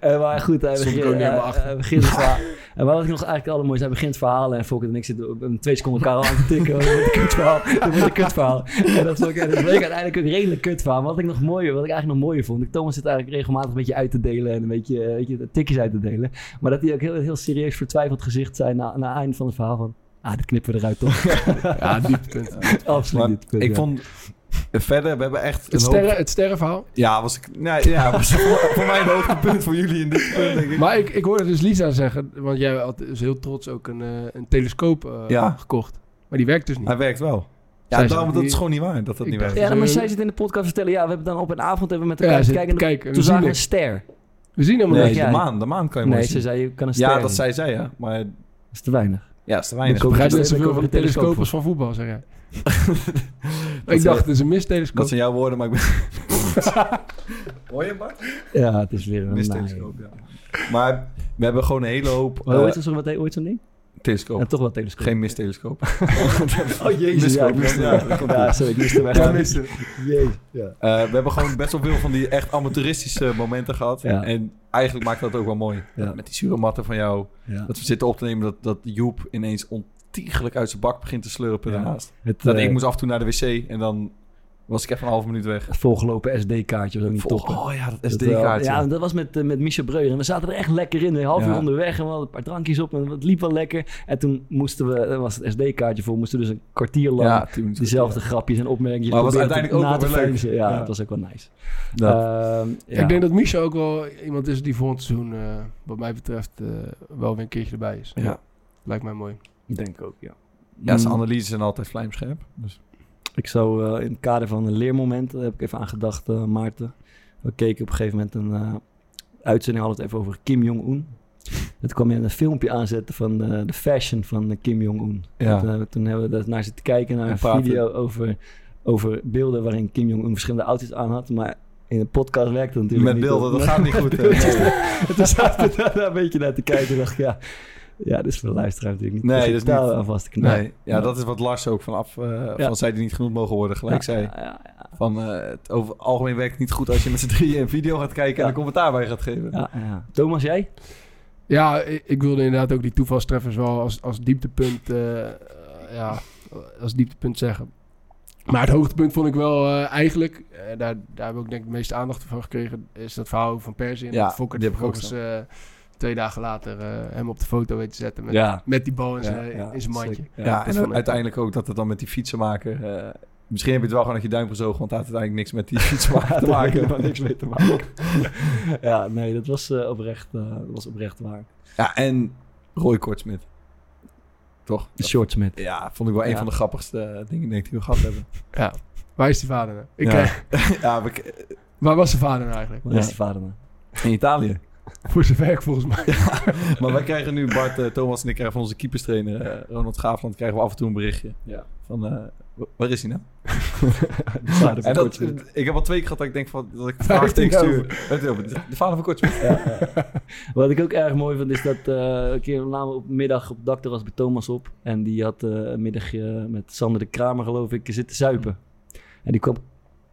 Speaker 4: Eh, maar goed, hij
Speaker 3: Stond ik
Speaker 4: begint,
Speaker 3: ook niet helemaal
Speaker 4: eh,
Speaker 3: achter.
Speaker 4: hij begint het verhaal. En wat ik nog eigenlijk het allermooiste, hij begint het verhaal en Fokker en ik zitten op een twee seconden elkaar al aan te tikken. Oh, dit wordt een kutverhaal, dit wordt een kutverhaal. En dat vond ik en dat bleek uiteindelijk ook redelijk kutverhaal. Maar wat ik nog mooier, wat ik eigenlijk nog mooier vond, ik- Thomas zit eigenlijk regelmatig een beetje uit te delen en een beetje, eh, weet je, tikjes uit te delen. Maar dat hij ook heel, heel serieus vertwijfeld gezicht zei na, na het eind van het verhaal van, ah, dit knippen we eruit toch.
Speaker 3: [LAUGHS] Ja,
Speaker 2: [LAUGHS]
Speaker 3: dieptepunt.
Speaker 4: Absoluut.
Speaker 2: Maar
Speaker 4: dit punt,
Speaker 2: ik
Speaker 4: ja.
Speaker 2: vond... eh, Verder, we hebben echt
Speaker 3: Het,
Speaker 2: een hoop-
Speaker 3: sterren, het sterrenverhaal.
Speaker 2: Ja, was ik... Nou, ja, [LAUGHS] was voor, voor mij een hoogtepunt voor jullie in dit punt, denk ik.
Speaker 3: Maar ik, ik hoorde dus Lisa zeggen, want jij had dus heel trots ook een, eh, een telescoop eh,
Speaker 2: Ja.
Speaker 3: gekocht. Maar die werkt dus niet.
Speaker 2: Hij werkt wel. Ja,
Speaker 3: Zij
Speaker 2: daarom,
Speaker 3: zegt
Speaker 2: dat
Speaker 3: niet-
Speaker 2: is gewoon niet waar dat dat
Speaker 3: Ik
Speaker 2: niet
Speaker 3: dacht-
Speaker 2: werkt.
Speaker 4: Ja, maar
Speaker 3: Eh,
Speaker 4: zij zit in de podcast vertellen. Ja, we hebben dan op een avond hebben we met elkaar
Speaker 3: Ja, ze
Speaker 4: gekeken. en
Speaker 3: kijken.
Speaker 4: Toen
Speaker 3: We
Speaker 4: zagen
Speaker 3: zien,
Speaker 4: we een
Speaker 3: niks.
Speaker 4: ster.
Speaker 3: we zien helemaal
Speaker 4: Nee,
Speaker 3: niks.
Speaker 4: ja.
Speaker 2: de maan, de maan kan je mooi
Speaker 4: Nee, ze
Speaker 2: zien.
Speaker 4: zei je kan een ster.
Speaker 2: Ja,
Speaker 4: niet.
Speaker 2: dat zei zij, ja. Maar
Speaker 4: Dat is te weinig.
Speaker 2: ja, is te
Speaker 4: Dan
Speaker 2: weinig.
Speaker 4: koop
Speaker 3: Ik
Speaker 4: je
Speaker 3: begrijp
Speaker 4: een
Speaker 3: net
Speaker 4: ster-
Speaker 3: zoveel van
Speaker 4: dan koop je
Speaker 3: de
Speaker 4: een telescoop
Speaker 3: telescoop
Speaker 4: voor.
Speaker 3: als van voetbal, zeg jij.
Speaker 2: Dat,
Speaker 3: ik
Speaker 2: eh,
Speaker 3: dacht, het is een mistelescoop.
Speaker 2: Dat zijn jouw woorden, maar ik ben... [LAUGHS] Hoor je, Bart?
Speaker 4: Ja, het is weer een eh, Oh,
Speaker 2: Mistelescoop, ja. Maar we hebben gewoon een hele hoop...
Speaker 4: Hoe
Speaker 2: eh,
Speaker 4: heet zo- wat heet- hoe heet zo'n ding?
Speaker 2: telescoop.
Speaker 4: Ja, toch wel telescoop.
Speaker 2: Geen
Speaker 4: [LAUGHS]
Speaker 2: mistelescoop.
Speaker 4: Oh jezus, ja,
Speaker 2: Miscoop,
Speaker 4: ik miste
Speaker 2: ja, dat
Speaker 4: hem.
Speaker 2: komt
Speaker 4: Ja,
Speaker 2: goed.
Speaker 4: sorry, ik miste hem echt.
Speaker 2: Ja,
Speaker 4: Jezus, ja.
Speaker 2: Eh, we hebben gewoon best wel veel van die echt amateuristische momenten gehad.
Speaker 4: Ja.
Speaker 2: En eigenlijk maakt dat ook wel mooi.
Speaker 4: Ja.
Speaker 2: Met die zure matten van jou.
Speaker 4: Ja.
Speaker 2: Dat we zitten op te nemen dat, dat Joep ineens ontiegelijk uit zijn bak begint te slurpen
Speaker 4: Ja.
Speaker 2: daarnaast.
Speaker 4: Het,
Speaker 2: Dat
Speaker 4: eh,
Speaker 2: ik moest af en toe naar de wc en dan Was ik even een half minuut weg.
Speaker 4: volgelopen SD-kaartje was ook niet
Speaker 2: Vol-
Speaker 4: toppen.
Speaker 2: oh ja, dat
Speaker 4: Dat,
Speaker 2: SD-kaartje.
Speaker 4: eh, Ja, dat was met, eh, met Michel Breuer. En we zaten er echt lekker in. Een half
Speaker 2: Ja.
Speaker 4: uur onderweg en we hadden een paar drankjes op. En het liep wel lekker. En toen moesten we, er was het SD-kaartje voor, moesten we dus een kwartier lang
Speaker 2: Ja, toen-
Speaker 4: diezelfde grapjes en opmerkingen
Speaker 2: Maar het was
Speaker 4: proberen te-
Speaker 2: uiteindelijk ook
Speaker 4: na
Speaker 2: wel
Speaker 4: te
Speaker 2: weer leuk.
Speaker 4: feinzen. Ja,
Speaker 2: Ja.
Speaker 4: het was ook wel nice.
Speaker 2: Dat-
Speaker 4: Ehm, ja.
Speaker 3: Ik denk dat Michel ook wel iemand is die volgend seizoen, eh, wat mij betreft, eh, wel weer een keertje erbij is.
Speaker 2: Ja.
Speaker 3: Lijkt mij mooi.
Speaker 4: Ik denk ook, ja.
Speaker 2: ja, zijn
Speaker 4: Mm.
Speaker 2: analyses zijn altijd vlijmscherp. Dus.
Speaker 4: Ik zou eh, in het kader van een leermoment, daar heb ik even aan gedacht, eh, Maarten. We keken op een gegeven moment een eh, uitzending, hadden het even over Kim Jong-un. [LAUGHS] Het kwam in een filmpje aanzetten van eh, de fashion van eh, Kim Jong-un.
Speaker 2: Ja.
Speaker 4: Dat, eh, toen hebben we daar naar zitten kijken naar
Speaker 2: En
Speaker 4: een
Speaker 2: praten.
Speaker 4: video over, over beelden waarin Kim Jong-un verschillende outfits aan had. Maar in een podcast werkt dat natuurlijk
Speaker 2: Met
Speaker 4: niet.
Speaker 2: beelden, dat
Speaker 4: Nee.
Speaker 2: gaat niet
Speaker 4: [LAUGHS]
Speaker 2: goed. hè.
Speaker 4: En toen zaten we daar daar een beetje naar te kijken en dacht ik, ja, ja, dit is voor de luisteraar natuurlijk niet.
Speaker 2: Nee,
Speaker 4: Dus
Speaker 2: dat is
Speaker 4: daar
Speaker 2: niet-
Speaker 4: aan vast te knijpen.
Speaker 2: Nee, ja, dat is wat Lars ook vanaf, eh, van zij die niet genoemd mogen worden, gelijk
Speaker 4: Ja,
Speaker 2: zei.
Speaker 4: ja, ja, ja.
Speaker 2: Van, eh, het over het algemeen werkt het niet goed als je met z'n drieën een video gaat kijken
Speaker 4: Ja.
Speaker 2: en een commentaar bij gaat geven.
Speaker 4: Ja, ja. Thomas, jij?
Speaker 3: Ja, i- ik wilde inderdaad ook die toevalstreffers wel als, als dieptepunt, eh, eh, ja, als dieptepunt zeggen. Maar het hoogtepunt vond ik wel eh, eigenlijk, eh, daar, daar heb ik ook denk ik de meeste aandacht voor gekregen, is dat verhaal over van Persie. En
Speaker 2: Ja,
Speaker 3: dat Fokker
Speaker 2: die heb ik ook
Speaker 3: vervolgens eh, twee dagen later eh, hem op de foto weet te zetten met,
Speaker 4: Ja.
Speaker 3: met die bal in
Speaker 4: Ja,
Speaker 3: zijn
Speaker 4: ja,
Speaker 3: in zijn mandje.
Speaker 4: zeker.
Speaker 2: Ja,
Speaker 4: [LAUGHS]
Speaker 3: dat
Speaker 2: en
Speaker 3: vond ik-
Speaker 2: uiteindelijk ook dat het dan met die fietsenmaker... eh, misschien heb je het wel gewoon uit je duim gezogen, want het had uiteindelijk niks
Speaker 4: [LAUGHS]
Speaker 2: met die fietsenmaker te
Speaker 4: Daar heb ik
Speaker 2: maken.
Speaker 4: helemaal niks mee te maken. [LAUGHS] ja, nee, dat was, eh, oprecht, eh, dat was oprecht waar.
Speaker 2: Ja, en Roy Kortsmit. Toch?
Speaker 4: Shortsmith.
Speaker 2: Ja, vond ik wel een
Speaker 4: Ja.
Speaker 2: van de grappigste eh, dingen denk ik, die we gehad
Speaker 4: [LAUGHS]
Speaker 2: hebben.
Speaker 3: Ja. Waar is die vader nou? Ik,
Speaker 2: ja.
Speaker 3: eh,
Speaker 2: ja, we-
Speaker 3: waar was zijn vader nou eigenlijk?
Speaker 4: Wat
Speaker 2: Ja.
Speaker 4: is die vader nou?
Speaker 2: in Italië.
Speaker 3: Voor zijn werk volgens mij.
Speaker 2: Maar wij krijgen nu, Bart, eh, Thomas en ik krijgen van onze keeperstrainer eh, Ronald Gaafland, krijgen we af en toe een berichtje.
Speaker 4: Ja.
Speaker 2: Van, eh, wa- waar is hij nou?
Speaker 4: De vader
Speaker 2: En
Speaker 4: van
Speaker 2: dat,
Speaker 4: Shortsmith.
Speaker 2: ik heb al twee keer gehad dat ik denk van, dat ik een
Speaker 3: Waar heeft hij
Speaker 2: vraagteken
Speaker 3: het
Speaker 2: stuur. Weet je wel, De vader van Kortsmit.
Speaker 4: Ja, ja. [LAUGHS] Wat ik ook erg mooi vond is dat eh, een keer we namen op middag op het dak was bij Thomas op. En die had eh, een middagje met Sander de Kramer geloof ik zitten zuipen. En die kwam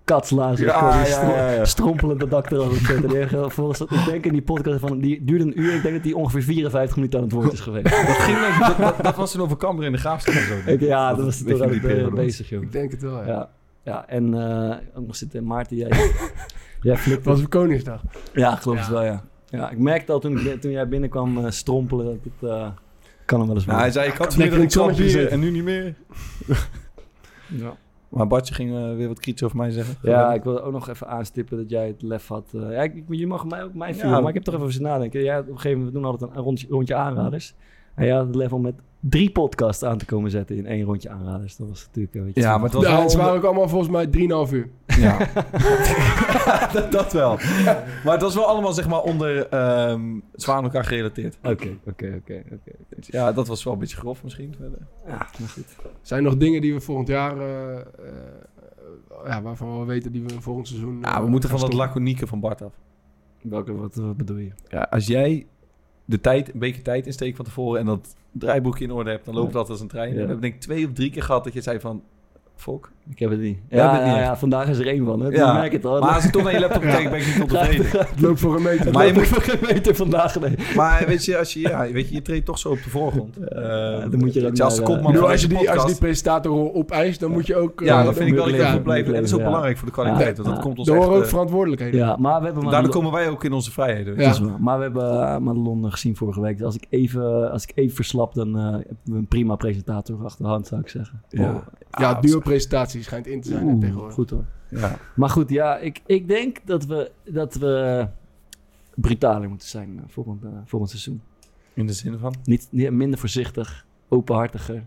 Speaker 4: katslazen
Speaker 2: Ja,
Speaker 4: ja,
Speaker 2: ja, ja, ja.
Speaker 4: strompelend dat dak eraf op zetten. En die- volgens dat, ik denk in die podcast van, die duurde een uur. Ik denk dat die ongeveer 54 minuten aan het woord is geweest.
Speaker 2: Dat, ging, dat, dat, dat was toen over Cambuur in de Graafschap en zo.
Speaker 4: [LAUGHS] Ik- ja, dat was
Speaker 2: een
Speaker 4: toch
Speaker 2: beetje
Speaker 4: aan
Speaker 2: die
Speaker 4: het eh,
Speaker 2: periode.
Speaker 4: bezig, joh.
Speaker 3: Ik denk het wel, ja.
Speaker 4: Ja, ja en eh, ook nog zitten Maarten, jij,
Speaker 2: [LAUGHS]
Speaker 4: jij flikt
Speaker 3: Het was op Koningsdag.
Speaker 4: Ja, geloof het
Speaker 3: Ja.
Speaker 4: wel, ja. Ja, ik merkte al toen, ik, bin- toen jij binnenkwam eh, strompelen dat het... eh, kan hem wel eens
Speaker 2: Nou, hij
Speaker 4: worden.
Speaker 2: zei, ik had
Speaker 3: Lekker
Speaker 2: weer een
Speaker 3: in het
Speaker 2: klap
Speaker 3: zonnetje
Speaker 2: bier
Speaker 3: zitten.
Speaker 2: en nu niet meer.
Speaker 4: ja.
Speaker 2: Maar Bartje ging eh, weer wat kritisch over mij zeggen.
Speaker 4: ja, ik wilde ook nog even aanstippen dat jij het lef had. eh, ja, ik, ik- je mag mij ook mij vieren,
Speaker 2: Ja.
Speaker 4: maar ik heb toch even over zitten nadenken. Jij had op een gegeven moment, we doen altijd een rondje, rondje aanraders. En jij had het lef om met drie podcasts aan te komen zetten in één rondje aanraders. Dat was natuurlijk een beetje...
Speaker 2: Ja, maar het was
Speaker 3: Ja,
Speaker 2: wel
Speaker 3: Nou, ze
Speaker 2: onder-
Speaker 3: waren ook allemaal volgens mij 3,5 uur.
Speaker 2: Ja. [LAUGHS] dat, dat wel. Maar het was wel allemaal zeg maar onder ehm zwaar aan elkaar gerelateerd.
Speaker 4: Oké, oké, oké. oké.
Speaker 2: Dus ja, dat was wel een beetje grof misschien. verder.
Speaker 4: Ja, maar goed.
Speaker 3: Zijn er nog dingen die we volgend jaar, eh, eh, ja, waarvan we weten die we volgend seizoen...
Speaker 2: Ja,
Speaker 3: eh,
Speaker 2: we moeten
Speaker 3: gaan
Speaker 2: van dat
Speaker 3: stoppen?
Speaker 2: laconieke van Bart af.
Speaker 4: Welke, wat, wat bedoel je?
Speaker 2: Ja, als jij de tijd, een beetje tijd insteekt van tevoren en dat draaiboekje in orde hebt, dan loopt dat als een trein.
Speaker 4: Ja.
Speaker 2: We hebben denk ik twee of drie keer gehad dat je zei van, fuck.
Speaker 4: Ik heb het niet.
Speaker 2: Jij hebt
Speaker 4: Ja,
Speaker 2: het niet
Speaker 4: ja,
Speaker 2: echt.
Speaker 4: ja, vandaag is er één van. Hè?
Speaker 2: Ja.
Speaker 4: Ja. merk het al.
Speaker 2: Maar
Speaker 4: [LAUGHS]
Speaker 2: als ik toch naar je laptop kijk, ben ik niet ontevreden.
Speaker 3: Het loopt voor een meter.
Speaker 2: Maar
Speaker 4: maar
Speaker 2: je
Speaker 4: je moet voor geen meter vandaag. Nee.
Speaker 2: Maar weet je, als je, ja, weet je, je treedt toch zo op de voorgrond. Eh,
Speaker 4: dan moet je dat
Speaker 2: weet als de
Speaker 4: maar,
Speaker 3: Ik
Speaker 4: eh,
Speaker 2: kopman
Speaker 3: bedoel,
Speaker 2: van
Speaker 3: als,
Speaker 2: deze
Speaker 3: je die, als je
Speaker 2: podcast-
Speaker 3: die presentator opeist, dan moet je ook... eh,
Speaker 2: Ja,
Speaker 3: dan
Speaker 2: dat vind ik wel
Speaker 3: moet
Speaker 2: dat
Speaker 3: je-
Speaker 2: je
Speaker 4: Ja,
Speaker 2: goed blijft. En dat is ook
Speaker 4: ja.
Speaker 2: belangrijk voor de kwaliteit,
Speaker 4: Ja.
Speaker 2: want dat komt ons
Speaker 3: Daar
Speaker 2: echt...
Speaker 3: horen ook
Speaker 2: eh,
Speaker 3: verantwoordelijkheden.
Speaker 4: Ja, maar we hebben
Speaker 2: Daardoor
Speaker 4: Madelon,
Speaker 2: komen wij ook in onze vrijheden. weet je.
Speaker 3: Ja.
Speaker 4: dat is waar. maar we hebben eh, Madelon gezien vorige week. Dus als ik even, als ik even verslap, dan eh, hebben we een prima presentator achter de hand, zou ik zeggen. Oh.
Speaker 2: Ja.
Speaker 3: Ja,
Speaker 2: Ah,
Speaker 3: duo-presentatie schijnt in te zijn hè,
Speaker 4: Oeh,
Speaker 3: tegenwoordig.
Speaker 4: goed hoor.
Speaker 2: Ja.
Speaker 4: Maar goed, ja, ik, ik denk dat we, dat we brutaler moeten zijn eh, volgend, eh, volgend seizoen.
Speaker 2: In de zin van?
Speaker 4: Niet, niet- minder voorzichtig, openhartiger,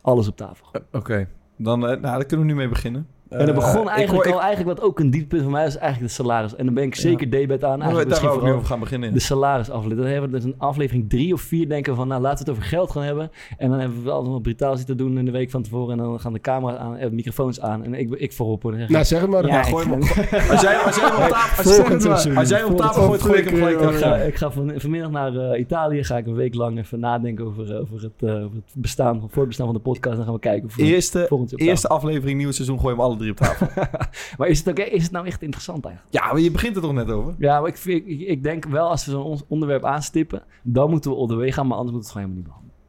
Speaker 4: alles op tafel.
Speaker 2: Oké, dan, eh, nou, daar kunnen we nu mee beginnen.
Speaker 4: En dat
Speaker 2: Eh,
Speaker 4: begon
Speaker 2: ik
Speaker 4: eigenlijk
Speaker 2: hoor-
Speaker 4: al, eigenlijk wat ook een dieptepunt van mij was, eigenlijk het salaris. En dan ben ik zeker debat aan.
Speaker 2: ik- hoor-
Speaker 4: Eigenlijk
Speaker 2: Daar
Speaker 4: misschien
Speaker 2: wou ik nu
Speaker 4: vooral
Speaker 2: over gaan beginnen.
Speaker 4: de salarisaflevering. Dan hebben we dus een aflevering drie of vier denken van, nou laten we het over geld gaan hebben. En dan hebben we wel allemaal brutaal zitten doen in de week van tevoren. En dan gaan de camera's aan, en de microfoons aan. En ik, ik voorop. hoor. Dan zeg ik,
Speaker 3: Nou, zeg het maar.
Speaker 4: ja,
Speaker 2: gooi
Speaker 4: ik-
Speaker 2: hem Als jij, als jij hem op tafel, als
Speaker 4: Volgend
Speaker 2: jij-
Speaker 4: seizoen.
Speaker 2: als jij hem op
Speaker 4: Volgend
Speaker 2: tafel gooit, gooi ik hem gelijk
Speaker 4: Ik ga,
Speaker 2: terug.
Speaker 4: ik ga van, vanmiddag naar eh, Italië. Ga ik een week lang even nadenken over, eh, over, het, eh, over het bestaan, voor het bestaan van de podcast. Dan gaan we kijken. Of we
Speaker 2: Eerste,
Speaker 4: volgend jaar op
Speaker 2: eerste aflevering nieuw seizoen gooi je hem alle drie op
Speaker 4: [LAUGHS]
Speaker 2: tafel.
Speaker 4: tafel- Maar is het, ook, is het nou echt interessant eigenlijk?
Speaker 2: Ja, maar je begint er toch net over?
Speaker 4: Ja, maar ik, vind- ik, ik denk wel als we zo'n ons- onderwerp aanstippen, dan moeten we all the way gaan, maar anders moeten we het gewoon helemaal niet behandelen.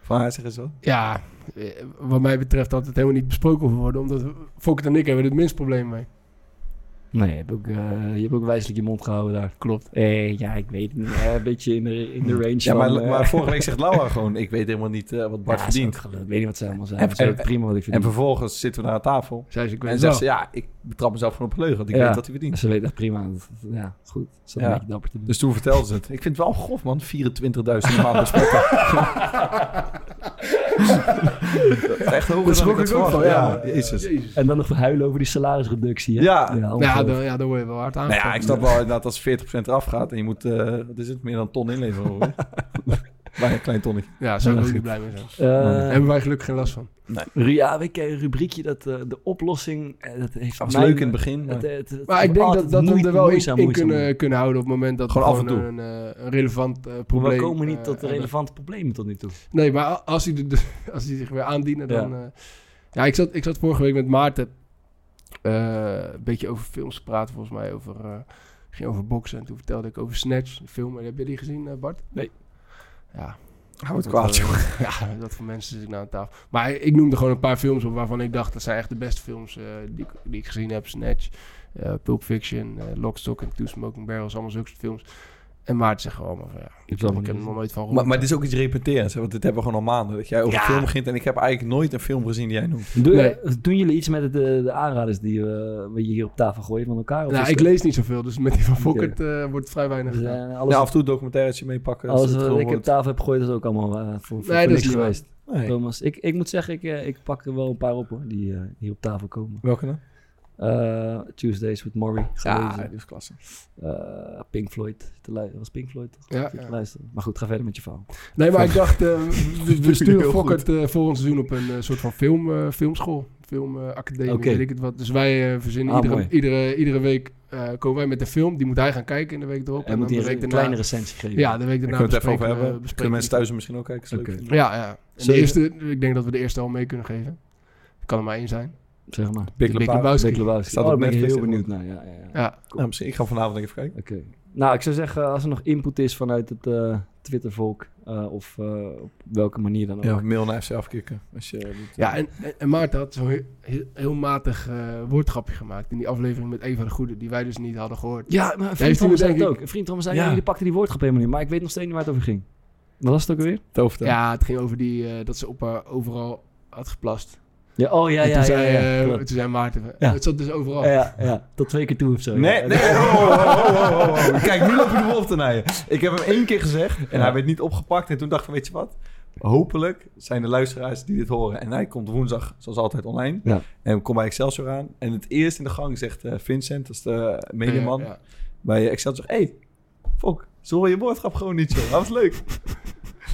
Speaker 2: Van haar zeggen ze dat?
Speaker 3: Ja, eh, wat mij betreft had het helemaal niet besproken hoeven worden. Omdat Fokker en ik hebben er het minst probleem mee.
Speaker 4: Nee, je hebt, ook, eh, je hebt ook wijselijk je mond gehouden daar.
Speaker 3: Klopt.
Speaker 4: Eh, ja, ik weet het niet. eh, een beetje in de, in de range
Speaker 2: Ja, maar,
Speaker 4: van... eh,
Speaker 2: maar vorige week zegt Laura gewoon, ik weet helemaal niet eh, wat Bart
Speaker 4: ja, is ook
Speaker 2: verdient.
Speaker 4: gelul. Ik weet niet wat ze allemaal zijn.
Speaker 2: En-
Speaker 4: Het is ook
Speaker 2: en-
Speaker 4: prima wat ik
Speaker 2: En
Speaker 4: verdien.
Speaker 2: vervolgens zitten we naar tafel.
Speaker 3: Zij ze, ik weet
Speaker 2: En
Speaker 3: het
Speaker 2: zegt ze,
Speaker 3: wel.
Speaker 2: ja, ik betrap mezelf gewoon op een leugen, want ik
Speaker 4: Ja.
Speaker 2: weet wat hij verdient.
Speaker 4: Ze weten dat prima. Dat- dat- Ja, goed. Dat is wel
Speaker 2: Ja.
Speaker 4: een beetje dapper te doen.
Speaker 2: Dus toen vertelde ze het. Ik vind het wel grof, man. 24.000 in de maand bespotten. [LAUGHS] Dat is echt hoger
Speaker 3: Daar
Speaker 2: dan ik
Speaker 3: schrok
Speaker 2: had
Speaker 3: ik ook
Speaker 2: verwacht.
Speaker 3: van, ja.
Speaker 2: Ja, jezus.
Speaker 3: Jezus. Nou
Speaker 4: en dan nog huilen over die salarisreductie. Hè?
Speaker 2: Ja.
Speaker 3: Ja,
Speaker 4: ongelooflijk.
Speaker 3: dan, ja, daar word je wel hard aan.
Speaker 2: Nou ja, ik snap wel inderdaad als 40% eraf gaat en je moet, eh, wat is het, meer dan een ton inleveren. [LAUGHS] hoor. Bij een klein tonnetje.
Speaker 3: Ja, zou ik
Speaker 4: Ja,
Speaker 3: ook niet
Speaker 4: goed.
Speaker 3: blij mee zijn.
Speaker 4: Eh,
Speaker 3: hebben wij gelukkig geen last van.
Speaker 4: Ru- Ja, we kennen een rubriekje dat eh, de oplossing. eh, dat heeft
Speaker 2: Dat was
Speaker 4: mij-
Speaker 2: leuk in het begin, maar
Speaker 4: Het, het, het-
Speaker 3: Maar ik denk
Speaker 4: altijd
Speaker 3: dat, dat we
Speaker 4: moeit-
Speaker 3: er wel in,
Speaker 4: moeizaam,
Speaker 3: in
Speaker 4: moeizaam.
Speaker 3: kunnen, kunnen houden op het moment dat
Speaker 2: Gewoon
Speaker 3: we
Speaker 2: af en toe.
Speaker 3: een, eh, een relevant eh,
Speaker 4: Maar
Speaker 3: probleem...
Speaker 4: we komen niet
Speaker 3: eh,
Speaker 4: tot
Speaker 3: hebben.
Speaker 4: relevante problemen tot nu toe.
Speaker 3: Nee, maar a- als hij, de, [LAUGHS] de- als hij zich weer aandienen, dan... eh, ja, ik, zat, ik zat vorige week met Maarten eh, een beetje over films te praten, volgens mij. Over, eh, ging over boksen en toen vertelde ik over Snatch, de film. Heb je die gezien, eh, Bart?
Speaker 4: Nee.
Speaker 3: Ja.
Speaker 2: hou het
Speaker 3: dat
Speaker 2: kwaad,
Speaker 3: voor-
Speaker 2: joh.
Speaker 3: [LAUGHS] Ja, dat voor mensen zit ik nou aan tafel. Maar ik noemde gewoon een paar films op waarvan ik dacht... dat zijn echt de beste films eh, die, ik- die ik gezien heb. Snatch, eh, Pulp Fiction, eh Lockstock en Two Smoking Barrels. Allemaal zulke soort films. En Maarten zegt gewoon maar van... Ja,
Speaker 4: Ik
Speaker 3: ik heb er nog nooit van gehoord.
Speaker 2: Maar, maar dit is ook iets repeterends, hè, want dit hebben we gewoon al maanden. Dat jij over
Speaker 3: Ja.
Speaker 2: een film begint en ik heb eigenlijk nooit een film gezien die jij noemt.
Speaker 4: Doe,
Speaker 3: Nee.
Speaker 4: eh, Doen jullie iets met het, eh, de aanraders die we we hier op tafel gooien van elkaar? Of
Speaker 3: Nou,
Speaker 4: is
Speaker 3: ik
Speaker 4: het-
Speaker 3: lees niet zoveel, dus met die van Fokkert eh, wordt vrij weinig
Speaker 4: dus, eh,
Speaker 3: gedaan.
Speaker 4: alles
Speaker 2: Ja, af en toe documentaires meepakken. als
Speaker 4: alles
Speaker 2: het
Speaker 4: wat
Speaker 2: gewoon
Speaker 4: ik op
Speaker 2: wordt.
Speaker 4: tafel heb gegooid is ook allemaal eh, voor, voor
Speaker 3: Nee, dat is
Speaker 4: niks
Speaker 3: niet waar.
Speaker 4: geweest.
Speaker 2: Nee.
Speaker 4: Thomas, ik, ik moet zeggen, ik, eh, ik pak er wel een paar op hoor, die eh, hier op tafel komen.
Speaker 2: Welke dan?
Speaker 4: Eh, Tuesdays with Maury. gelezen.
Speaker 2: is klasse.
Speaker 4: Eh, Pink Floyd. Te lu- was Pink Floyd toch?
Speaker 3: Ja,
Speaker 4: Zit te
Speaker 3: ja.
Speaker 4: luisteren. Maar goed, ga verder met je verhaal.
Speaker 3: Nee, maar ik dacht,
Speaker 4: [LAUGHS]
Speaker 3: eh, we- we
Speaker 2: Heel
Speaker 3: sturen
Speaker 2: goed.
Speaker 3: Fokkert eh, volgend seizoen op een eh, soort van film, eh, filmschool, filmacademie,
Speaker 4: Oké.
Speaker 3: weet ik het wat. Dus wij eh, verzinnen
Speaker 4: Ah,
Speaker 3: iedere,
Speaker 4: mooi.
Speaker 3: iedere, iedere week, eh, komen wij met een film, die moet hij gaan kijken in de week erop.
Speaker 4: En moet
Speaker 3: dan
Speaker 4: hij
Speaker 3: de
Speaker 4: een
Speaker 3: week
Speaker 4: kleine recensie geven.
Speaker 3: Ja, de week
Speaker 2: Daar
Speaker 3: daarna
Speaker 2: kunnen we het even over
Speaker 3: bespreken we-
Speaker 2: hebben.
Speaker 3: bespreken
Speaker 2: Kunnen mensen
Speaker 3: we-
Speaker 2: thuis misschien ook kijken. als ze het leuk
Speaker 4: Oké.
Speaker 2: vinden.
Speaker 3: Ja, ja. En de
Speaker 4: Zeker.
Speaker 3: eerste, ik denk dat we de eerste al mee kunnen geven. Kan er maar één zijn.
Speaker 4: Zeg maar.
Speaker 2: Big
Speaker 3: Big
Speaker 2: Lebowski.
Speaker 3: Lebowski.
Speaker 4: Big Lebowski.
Speaker 2: Staat
Speaker 4: Oh,
Speaker 2: op
Speaker 4: daar ben ik
Speaker 2: Netflix
Speaker 4: heel benieuwd naar. Ja, ja, ja.
Speaker 3: Ja.
Speaker 2: Nou, misschien, ik ga vanavond even kijken.
Speaker 4: Oké. Nou, ik zou zeggen, als er nog input is vanuit het eh Twittervolk, eh, of eh, op welke manier dan ook.
Speaker 2: Ja, mail naar FC afkicken. Als je eh, dit-
Speaker 3: Ja, en, en, en Maarten had zo'n heel, heel, heel matig eh, woordgrapje gemaakt in die aflevering met Eva de Goede, die wij dus niet hadden gehoord.
Speaker 4: Ja, maar een
Speaker 3: Heeft
Speaker 4: vriend van me
Speaker 3: hij
Speaker 4: zei
Speaker 3: denk
Speaker 4: het
Speaker 3: ik-
Speaker 4: ook. Een vriend van me zei,
Speaker 2: Ja.
Speaker 4: ja. jullie pakten die woordgrap helemaal niet. Maar ik weet nog steeds niet waar het over ging. Wat was het ook alweer?
Speaker 2: Tovertel.
Speaker 3: Ja, het ging over die, eh, dat ze op haar overal had geplast.
Speaker 4: Ja, oh ja,
Speaker 3: en toen,
Speaker 4: ja, ja.
Speaker 3: zei,
Speaker 4: ja,
Speaker 3: eh,
Speaker 4: klopt.
Speaker 3: toen zei Maarten,
Speaker 4: Ja.
Speaker 3: het zat dus overal.
Speaker 4: ja, ja, tot twee keer toe of zo.
Speaker 2: Nee,
Speaker 4: ja.
Speaker 2: nee, oh, oh, oh, oh, oh, oh. Kijk, nu loop je de wolf te naaien. Ik heb hem één keer gezegd en hij werd niet opgepakt. En toen dacht ik, van, weet je wat? Hopelijk zijn de luisteraars die dit horen. En hij komt woensdag, zoals altijd, online.
Speaker 4: Ja.
Speaker 2: En komt bij Excelsior aan. En het eerst in de gang zegt eh, Vincent, dat is de mediaman,
Speaker 3: Ja, ja.
Speaker 2: bij Excelsior. Hé, hey, Fok, ze horen je woordgrap gewoon niet, joh. Dat was leuk.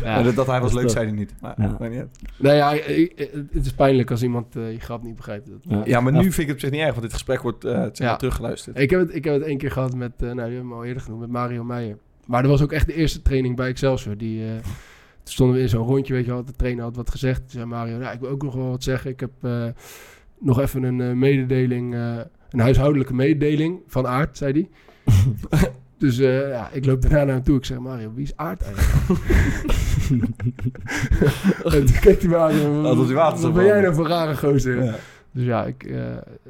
Speaker 3: Ja.
Speaker 2: Maar dat, dat hij was
Speaker 4: Dat is
Speaker 2: leuk,
Speaker 4: toch-
Speaker 2: zei hij niet. Maar,
Speaker 4: Ja.
Speaker 2: maakt niet uit.
Speaker 3: Nou ja, ik- ik- het is pijnlijk als iemand eh, je grap niet begrijpt. Dat-
Speaker 4: Ja.
Speaker 2: ja, maar nu vind ik het op zich niet erg, want dit gesprek wordt eh, het zeg maar
Speaker 3: Ja.
Speaker 2: teruggeluisterd.
Speaker 3: Ik heb het, ik heb het één keer gehad met, eh, nou, die hebben we al eerder genoemd, met Mario Meijer. Maar dat was ook echt de eerste training bij Excelsior. Die, eh, toen stonden we in zo'n rondje, weet je wel, de trainer had wat gezegd. Toen zei Mario, nou, ik wil ook nog wel wat zeggen. Ik heb eh, nog even een eh, mededeling, eh, een huishoudelijke mededeling van Aard, zei
Speaker 2: [LAUGHS]
Speaker 3: hij. dus eh, ja, ik loop daarna naar hem toe. Ik zeg, Mario, wie is Aard eigenlijk?
Speaker 2: [LAUGHS]
Speaker 3: en toen keek hij me aan. eh,
Speaker 2: Alsof hij water
Speaker 3: Wat
Speaker 2: zou
Speaker 3: ben jij
Speaker 2: branden."
Speaker 3: nou voor rare gozer?
Speaker 2: Ja.
Speaker 3: Dus ja, ik... eh,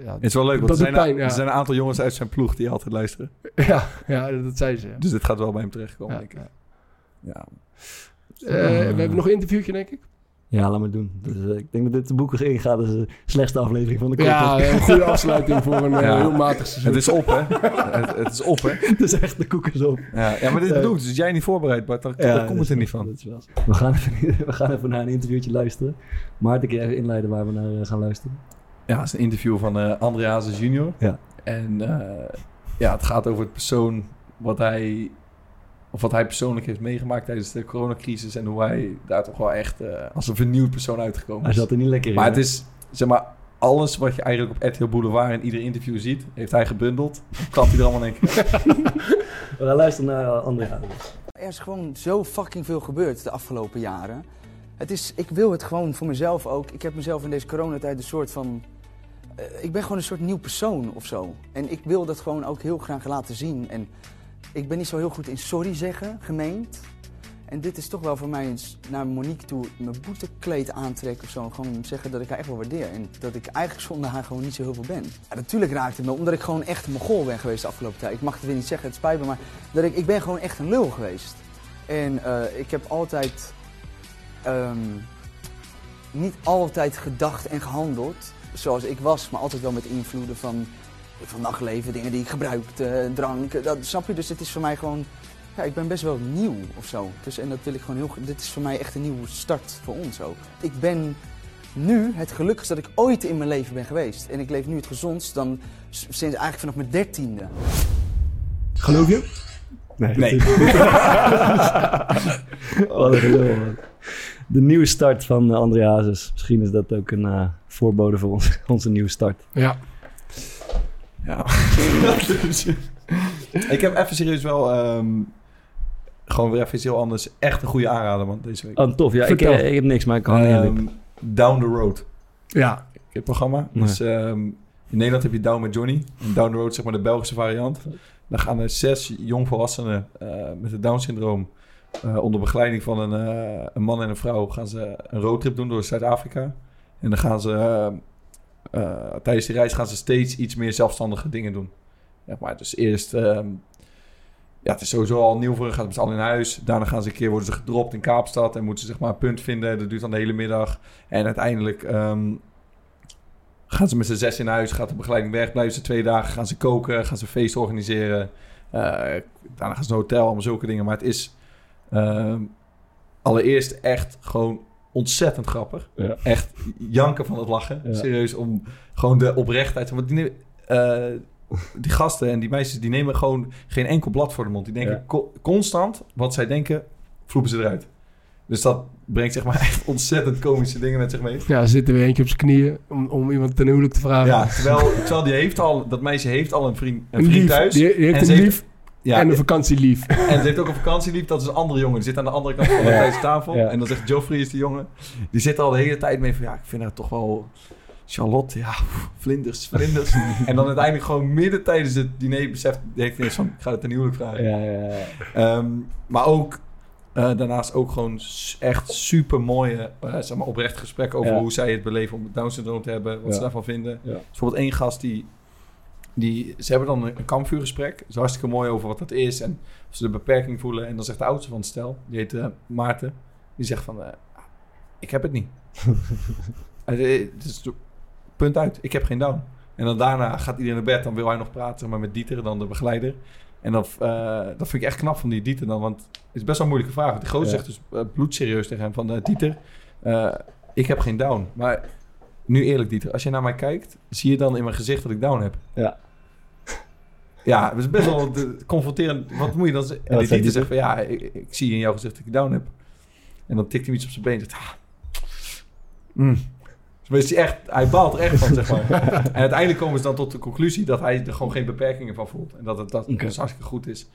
Speaker 3: ja, [LAUGHS]
Speaker 2: Het is wel leuk, want
Speaker 3: Dat
Speaker 2: er zijn,
Speaker 3: doet pijn, ja.
Speaker 2: er zijn een aantal jongens uit zijn ploeg die altijd luisteren.
Speaker 3: ja, ja, dat zei ze. ja.
Speaker 2: Dus dit gaat wel bij hem terechtkomen,
Speaker 3: Ja,
Speaker 2: denk ik.
Speaker 3: ja.
Speaker 2: Ja.
Speaker 3: Eh, we hebben nog een interviewtje, denk ik.
Speaker 4: Ja, laat maar doen. Dus, eh, ik denk dat dit de boeken ingaat als de slechtste aflevering van de
Speaker 3: Ja,
Speaker 4: koekenkast.
Speaker 3: een goede afsluiting voor een eh,
Speaker 2: eh. Ja.
Speaker 3: heel matig seizoen.
Speaker 2: Het is op, hè? het, het is op, hè?
Speaker 4: [LAUGHS] Het is Dus echt de koekers op.
Speaker 2: Ja, dus ja maar dit
Speaker 4: Eh.
Speaker 2: bedoel ik. Dus als jij niet voorbereid, Bart, dan,
Speaker 4: Ja,
Speaker 2: dan komt
Speaker 4: dat
Speaker 2: het er
Speaker 4: is
Speaker 2: niet
Speaker 4: wel-
Speaker 2: van.
Speaker 4: dat is wel zo. We gaan, even, [LAUGHS] we gaan even naar een interviewtje luisteren. Maarten, kun je even inleiden waar we naar eh, gaan luisteren?
Speaker 2: Ja, het is een interview van eh André Hazes junior.
Speaker 4: Ja.
Speaker 2: En eh, ja, het gaat over het persoon wat hij... Of wat hij persoonlijk heeft meegemaakt tijdens de coronacrisis. En hoe hij daar toch wel echt eh, als een vernieuwd persoon uitgekomen
Speaker 4: Hij
Speaker 2: is.
Speaker 4: zat er niet lekker in.
Speaker 2: Maar het
Speaker 4: hè?
Speaker 2: is, zeg maar, alles wat je eigenlijk op RTL Boulevard in ieder interview ziet, heeft hij gebundeld. Klapt hij er allemaal in één keer.
Speaker 4: We gaan luisteren naar eh, André Hazes.
Speaker 10: Er is gewoon zo fucking veel gebeurd de afgelopen jaren. Het is, ik wil het gewoon voor mezelf ook. Ik heb mezelf in deze coronatijd een soort van... eh, ik ben gewoon een soort nieuw persoon of zo. En ik wil dat gewoon ook heel graag laten zien. En ik ben niet zo heel goed in sorry zeggen, gemeend. En dit is toch wel voor mij eens naar Monique toe mijn boetekleed aantrekken of zo. Gewoon zeggen dat ik haar echt wel waardeer. En dat ik eigenlijk zonder haar gewoon niet zo heel veel ben. Ja, natuurlijk raakt het me, omdat ik gewoon echt een mogol ben geweest de afgelopen tijd. Ik mag het weer niet zeggen, het spijt me, maar dat ik, ik ben gewoon echt een lul geweest. En eh, ik heb altijd ehm, niet altijd gedacht en gehandeld zoals ik was, maar altijd wel met invloeden van, van nachtleven, dingen die ik gebruikte, drank. eh, Dat, snap je? Dus het is voor mij gewoon, ja, ik ben best wel nieuw of zo. Dus, en dat wil ik gewoon heel, dit is voor mij echt een nieuwe start voor ons ook. Ik ben nu het gelukkigst dat ik ooit in mijn leven ben geweest. En ik leef nu het gezondst dan s- sinds eigenlijk vanaf mijn dertiende.
Speaker 3: Geloof je?
Speaker 4: Nee.
Speaker 3: Nee.
Speaker 4: [LAUGHS] Wat een gelul, man. De nieuwe start van eh, André Hazes. Misschien is dat ook een eh, voorbode voor ons, [LAUGHS] onze nieuwe start.
Speaker 3: Ja.
Speaker 2: Ja. [LAUGHS] ik heb even serieus wel... ehm, gewoon weer even iets heel anders. Echt een goede aanrader, man, deze week.
Speaker 4: Oh, tof. Ja, ik,
Speaker 2: Vertel.
Speaker 4: eh, ik heb niks, maar ik hang
Speaker 2: Ehm,
Speaker 4: eerlijk.
Speaker 2: Down the Road.
Speaker 3: Ja.
Speaker 2: Het programma.
Speaker 4: Nee.
Speaker 2: Dus, ehm, in Nederland heb je Down met Johnny. En Down the Road, zeg maar de Belgische variant. Daar gaan er zes jongvolwassenen eh met het Down-syndroom... eh, onder begeleiding van een, eh, een man en een vrouw... gaan ze een roadtrip doen door Zuid-Afrika. En dan gaan ze... ehm, eh, tijdens die reis gaan ze steeds iets meer zelfstandige dingen doen. Zeg maar, dus eerst... ehm, ja, het is sowieso al nieuw voor hen, gaan ze met z'n allen in huis. Daarna gaan ze een keer, worden ze gedropt in Kaapstad... en moeten ze zeg maar een punt vinden. Dat duurt dan de hele middag. En uiteindelijk... ehm, gaan ze met z'n zes in huis, gaat de begeleiding weg, blijven ze twee dagen, gaan ze koken, gaan ze feest organiseren. Eh, daarna gaan ze naar een hotel, allemaal zulke dingen. Maar het is ehm, allereerst echt gewoon ontzettend grappig.
Speaker 4: Ja.
Speaker 2: Echt janken van het lachen.
Speaker 4: Ja.
Speaker 2: Serieus, om gewoon de oprechtheid. Want die, eh, die gasten en die meisjes, die nemen gewoon geen enkel blad voor de mond. Die denken
Speaker 4: Ja.
Speaker 2: co- constant wat zij denken, vloepen ze eruit. Dus dat brengt zeg maar echt ontzettend komische dingen met zich mee.
Speaker 3: Ja, er zit er weer eentje op zijn knieën om, om iemand ten huwelijk te vragen.
Speaker 2: Ja, terwijl, terwijl die heeft al, dat meisje heeft al een vriend, een
Speaker 3: Een
Speaker 2: vriend
Speaker 3: lief.
Speaker 2: thuis.
Speaker 3: Die- die heeft
Speaker 2: en
Speaker 3: een
Speaker 2: ze
Speaker 3: lief en een vakantielief.
Speaker 2: En ze heeft ook een vakantielief. Dat is een andere jongen. Die zit aan de andere kant van de
Speaker 4: Ja.
Speaker 2: Thaise tafel.
Speaker 4: Ja.
Speaker 2: En dan zegt Joffrey is die jongen. Die zit al de hele tijd mee van... Ja, ik vind haar toch wel... Charlotte, ja, pff, vlinders, vlinders. en dan uiteindelijk gewoon midden tijdens het diner beseft... Heeft hij ineens van, ik ga het ten huwelijk vragen.
Speaker 4: Ja, ja, ja.
Speaker 2: Ehm, maar ook eh, daarnaast ook gewoon s- echt super mooie, eh, zeg maar oprecht gesprek over
Speaker 4: Ja.
Speaker 2: hoe zij het beleven om het Down syndroom te hebben, wat
Speaker 4: Ja.
Speaker 2: ze daarvan vinden. Dus
Speaker 4: Ja.
Speaker 2: Bijvoorbeeld één gast die, die, ze hebben dan een, een kampvuurgesprek, dat is hartstikke mooi over wat dat is en of ze de beperking voelen. En dan zegt de oudste van het stel, die heet eh, Maarten, die zegt van, eh, ik heb het
Speaker 4: [LAUGHS]
Speaker 2: niet. Het is- het is- punt uit, ik heb geen down. En dan daarna gaat iedereen naar bed, dan wil hij nog praten, maar met Dieter, dan de begeleider. En dat, eh, dat vind ik echt knap van die Dieter dan, want het is best wel een moeilijke vraag. Want die gozer
Speaker 4: Ja.
Speaker 2: zegt dus eh, bloedserieus tegen hem van, eh, Dieter, eh, ik heb geen down. Maar nu eerlijk Dieter, als je naar mij kijkt, zie je dan in mijn gezicht dat ik down heb?
Speaker 4: Ja.
Speaker 2: Ja, het is best wel de- confronterend. Wat moet je dan zeggen? En
Speaker 4: Wat
Speaker 2: die
Speaker 4: zei
Speaker 2: Dieter
Speaker 4: Dieter?
Speaker 2: zegt van, ja, ik, ik zie in jouw gezicht dat ik down heb. En dan tikt hij hem iets op zijn been en zegt, ah, mm. Dus is hij, echt, hij baalt er echt van, zeg
Speaker 4: [LAUGHS]
Speaker 2: maar. En uiteindelijk komen ze dan tot de conclusie dat hij er gewoon geen beperkingen van voelt. En dat het dat
Speaker 4: Oké.
Speaker 2: dus hartstikke goed is.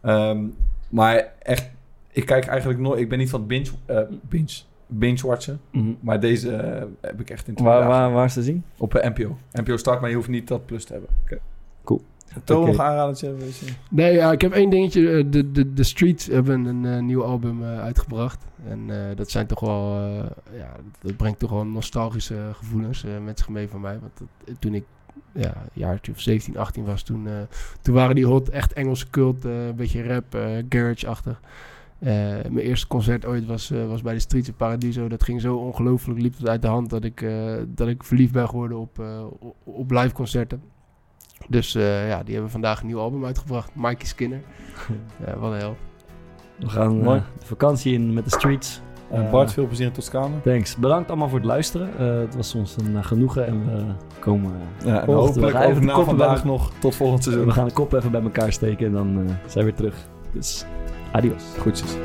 Speaker 2: Ehm, maar echt, ik kijk eigenlijk nooit... Ik ben niet van het binge, eh, binge, binge-watchen.
Speaker 4: Mhm.
Speaker 2: Maar deze eh, heb ik echt in twee
Speaker 4: Waar,
Speaker 2: dagen.
Speaker 4: waar, waar is te zien?
Speaker 2: Op eh, NPO. NPO start, maar je hoeft niet dat plus te hebben.
Speaker 4: Cool.
Speaker 2: Toon,
Speaker 4: Oké.
Speaker 2: nog aanraden? Weet je?
Speaker 3: Nee, ja, ik heb één dingetje. Eh, De, de, de Streets hebben een eh, nieuw album eh, uitgebracht. En eh, dat zijn toch wel... eh, ja, dat brengt toch wel nostalgische gevoelens eh, met zich mee van mij. Want dat, eh, toen ik ja, een jaartje of 17, 18 was, toen, eh, toen waren die hot echt Engelse cult. eh, een beetje rap, eh, garage-achtig. Eh, mijn eerste concert ooit was, eh, was bij de Streets in Paradiso. Dat ging zo ongelooflijk, liep het uit de hand dat ik, eh, dat ik verliefd ben geworden op, eh, op- op live concerten. Dus eh, ja, die hebben vandaag een nieuw album uitgebracht. Mikey Skinner. Ja, wat een hel.
Speaker 4: We gaan eh,
Speaker 2: Mooi.
Speaker 4: de vakantie in met de streets.
Speaker 2: Eh,
Speaker 4: Eh,
Speaker 2: Bart, veel plezier in Toscane.
Speaker 4: Thanks. Bedankt allemaal voor het luisteren. Eh, het was ons een eh, genoegen en we komen... eh,
Speaker 2: Ja, en
Speaker 4: volgende. We
Speaker 2: hopelijk
Speaker 4: gaan even
Speaker 2: ook
Speaker 4: de
Speaker 2: na
Speaker 4: koppen bij
Speaker 2: vandaag nog tot volgend
Speaker 4: We
Speaker 2: seizoen.
Speaker 4: gaan de kop even bij elkaar steken en dan eh, zijn we weer terug. Dus adios.
Speaker 2: Goedjes.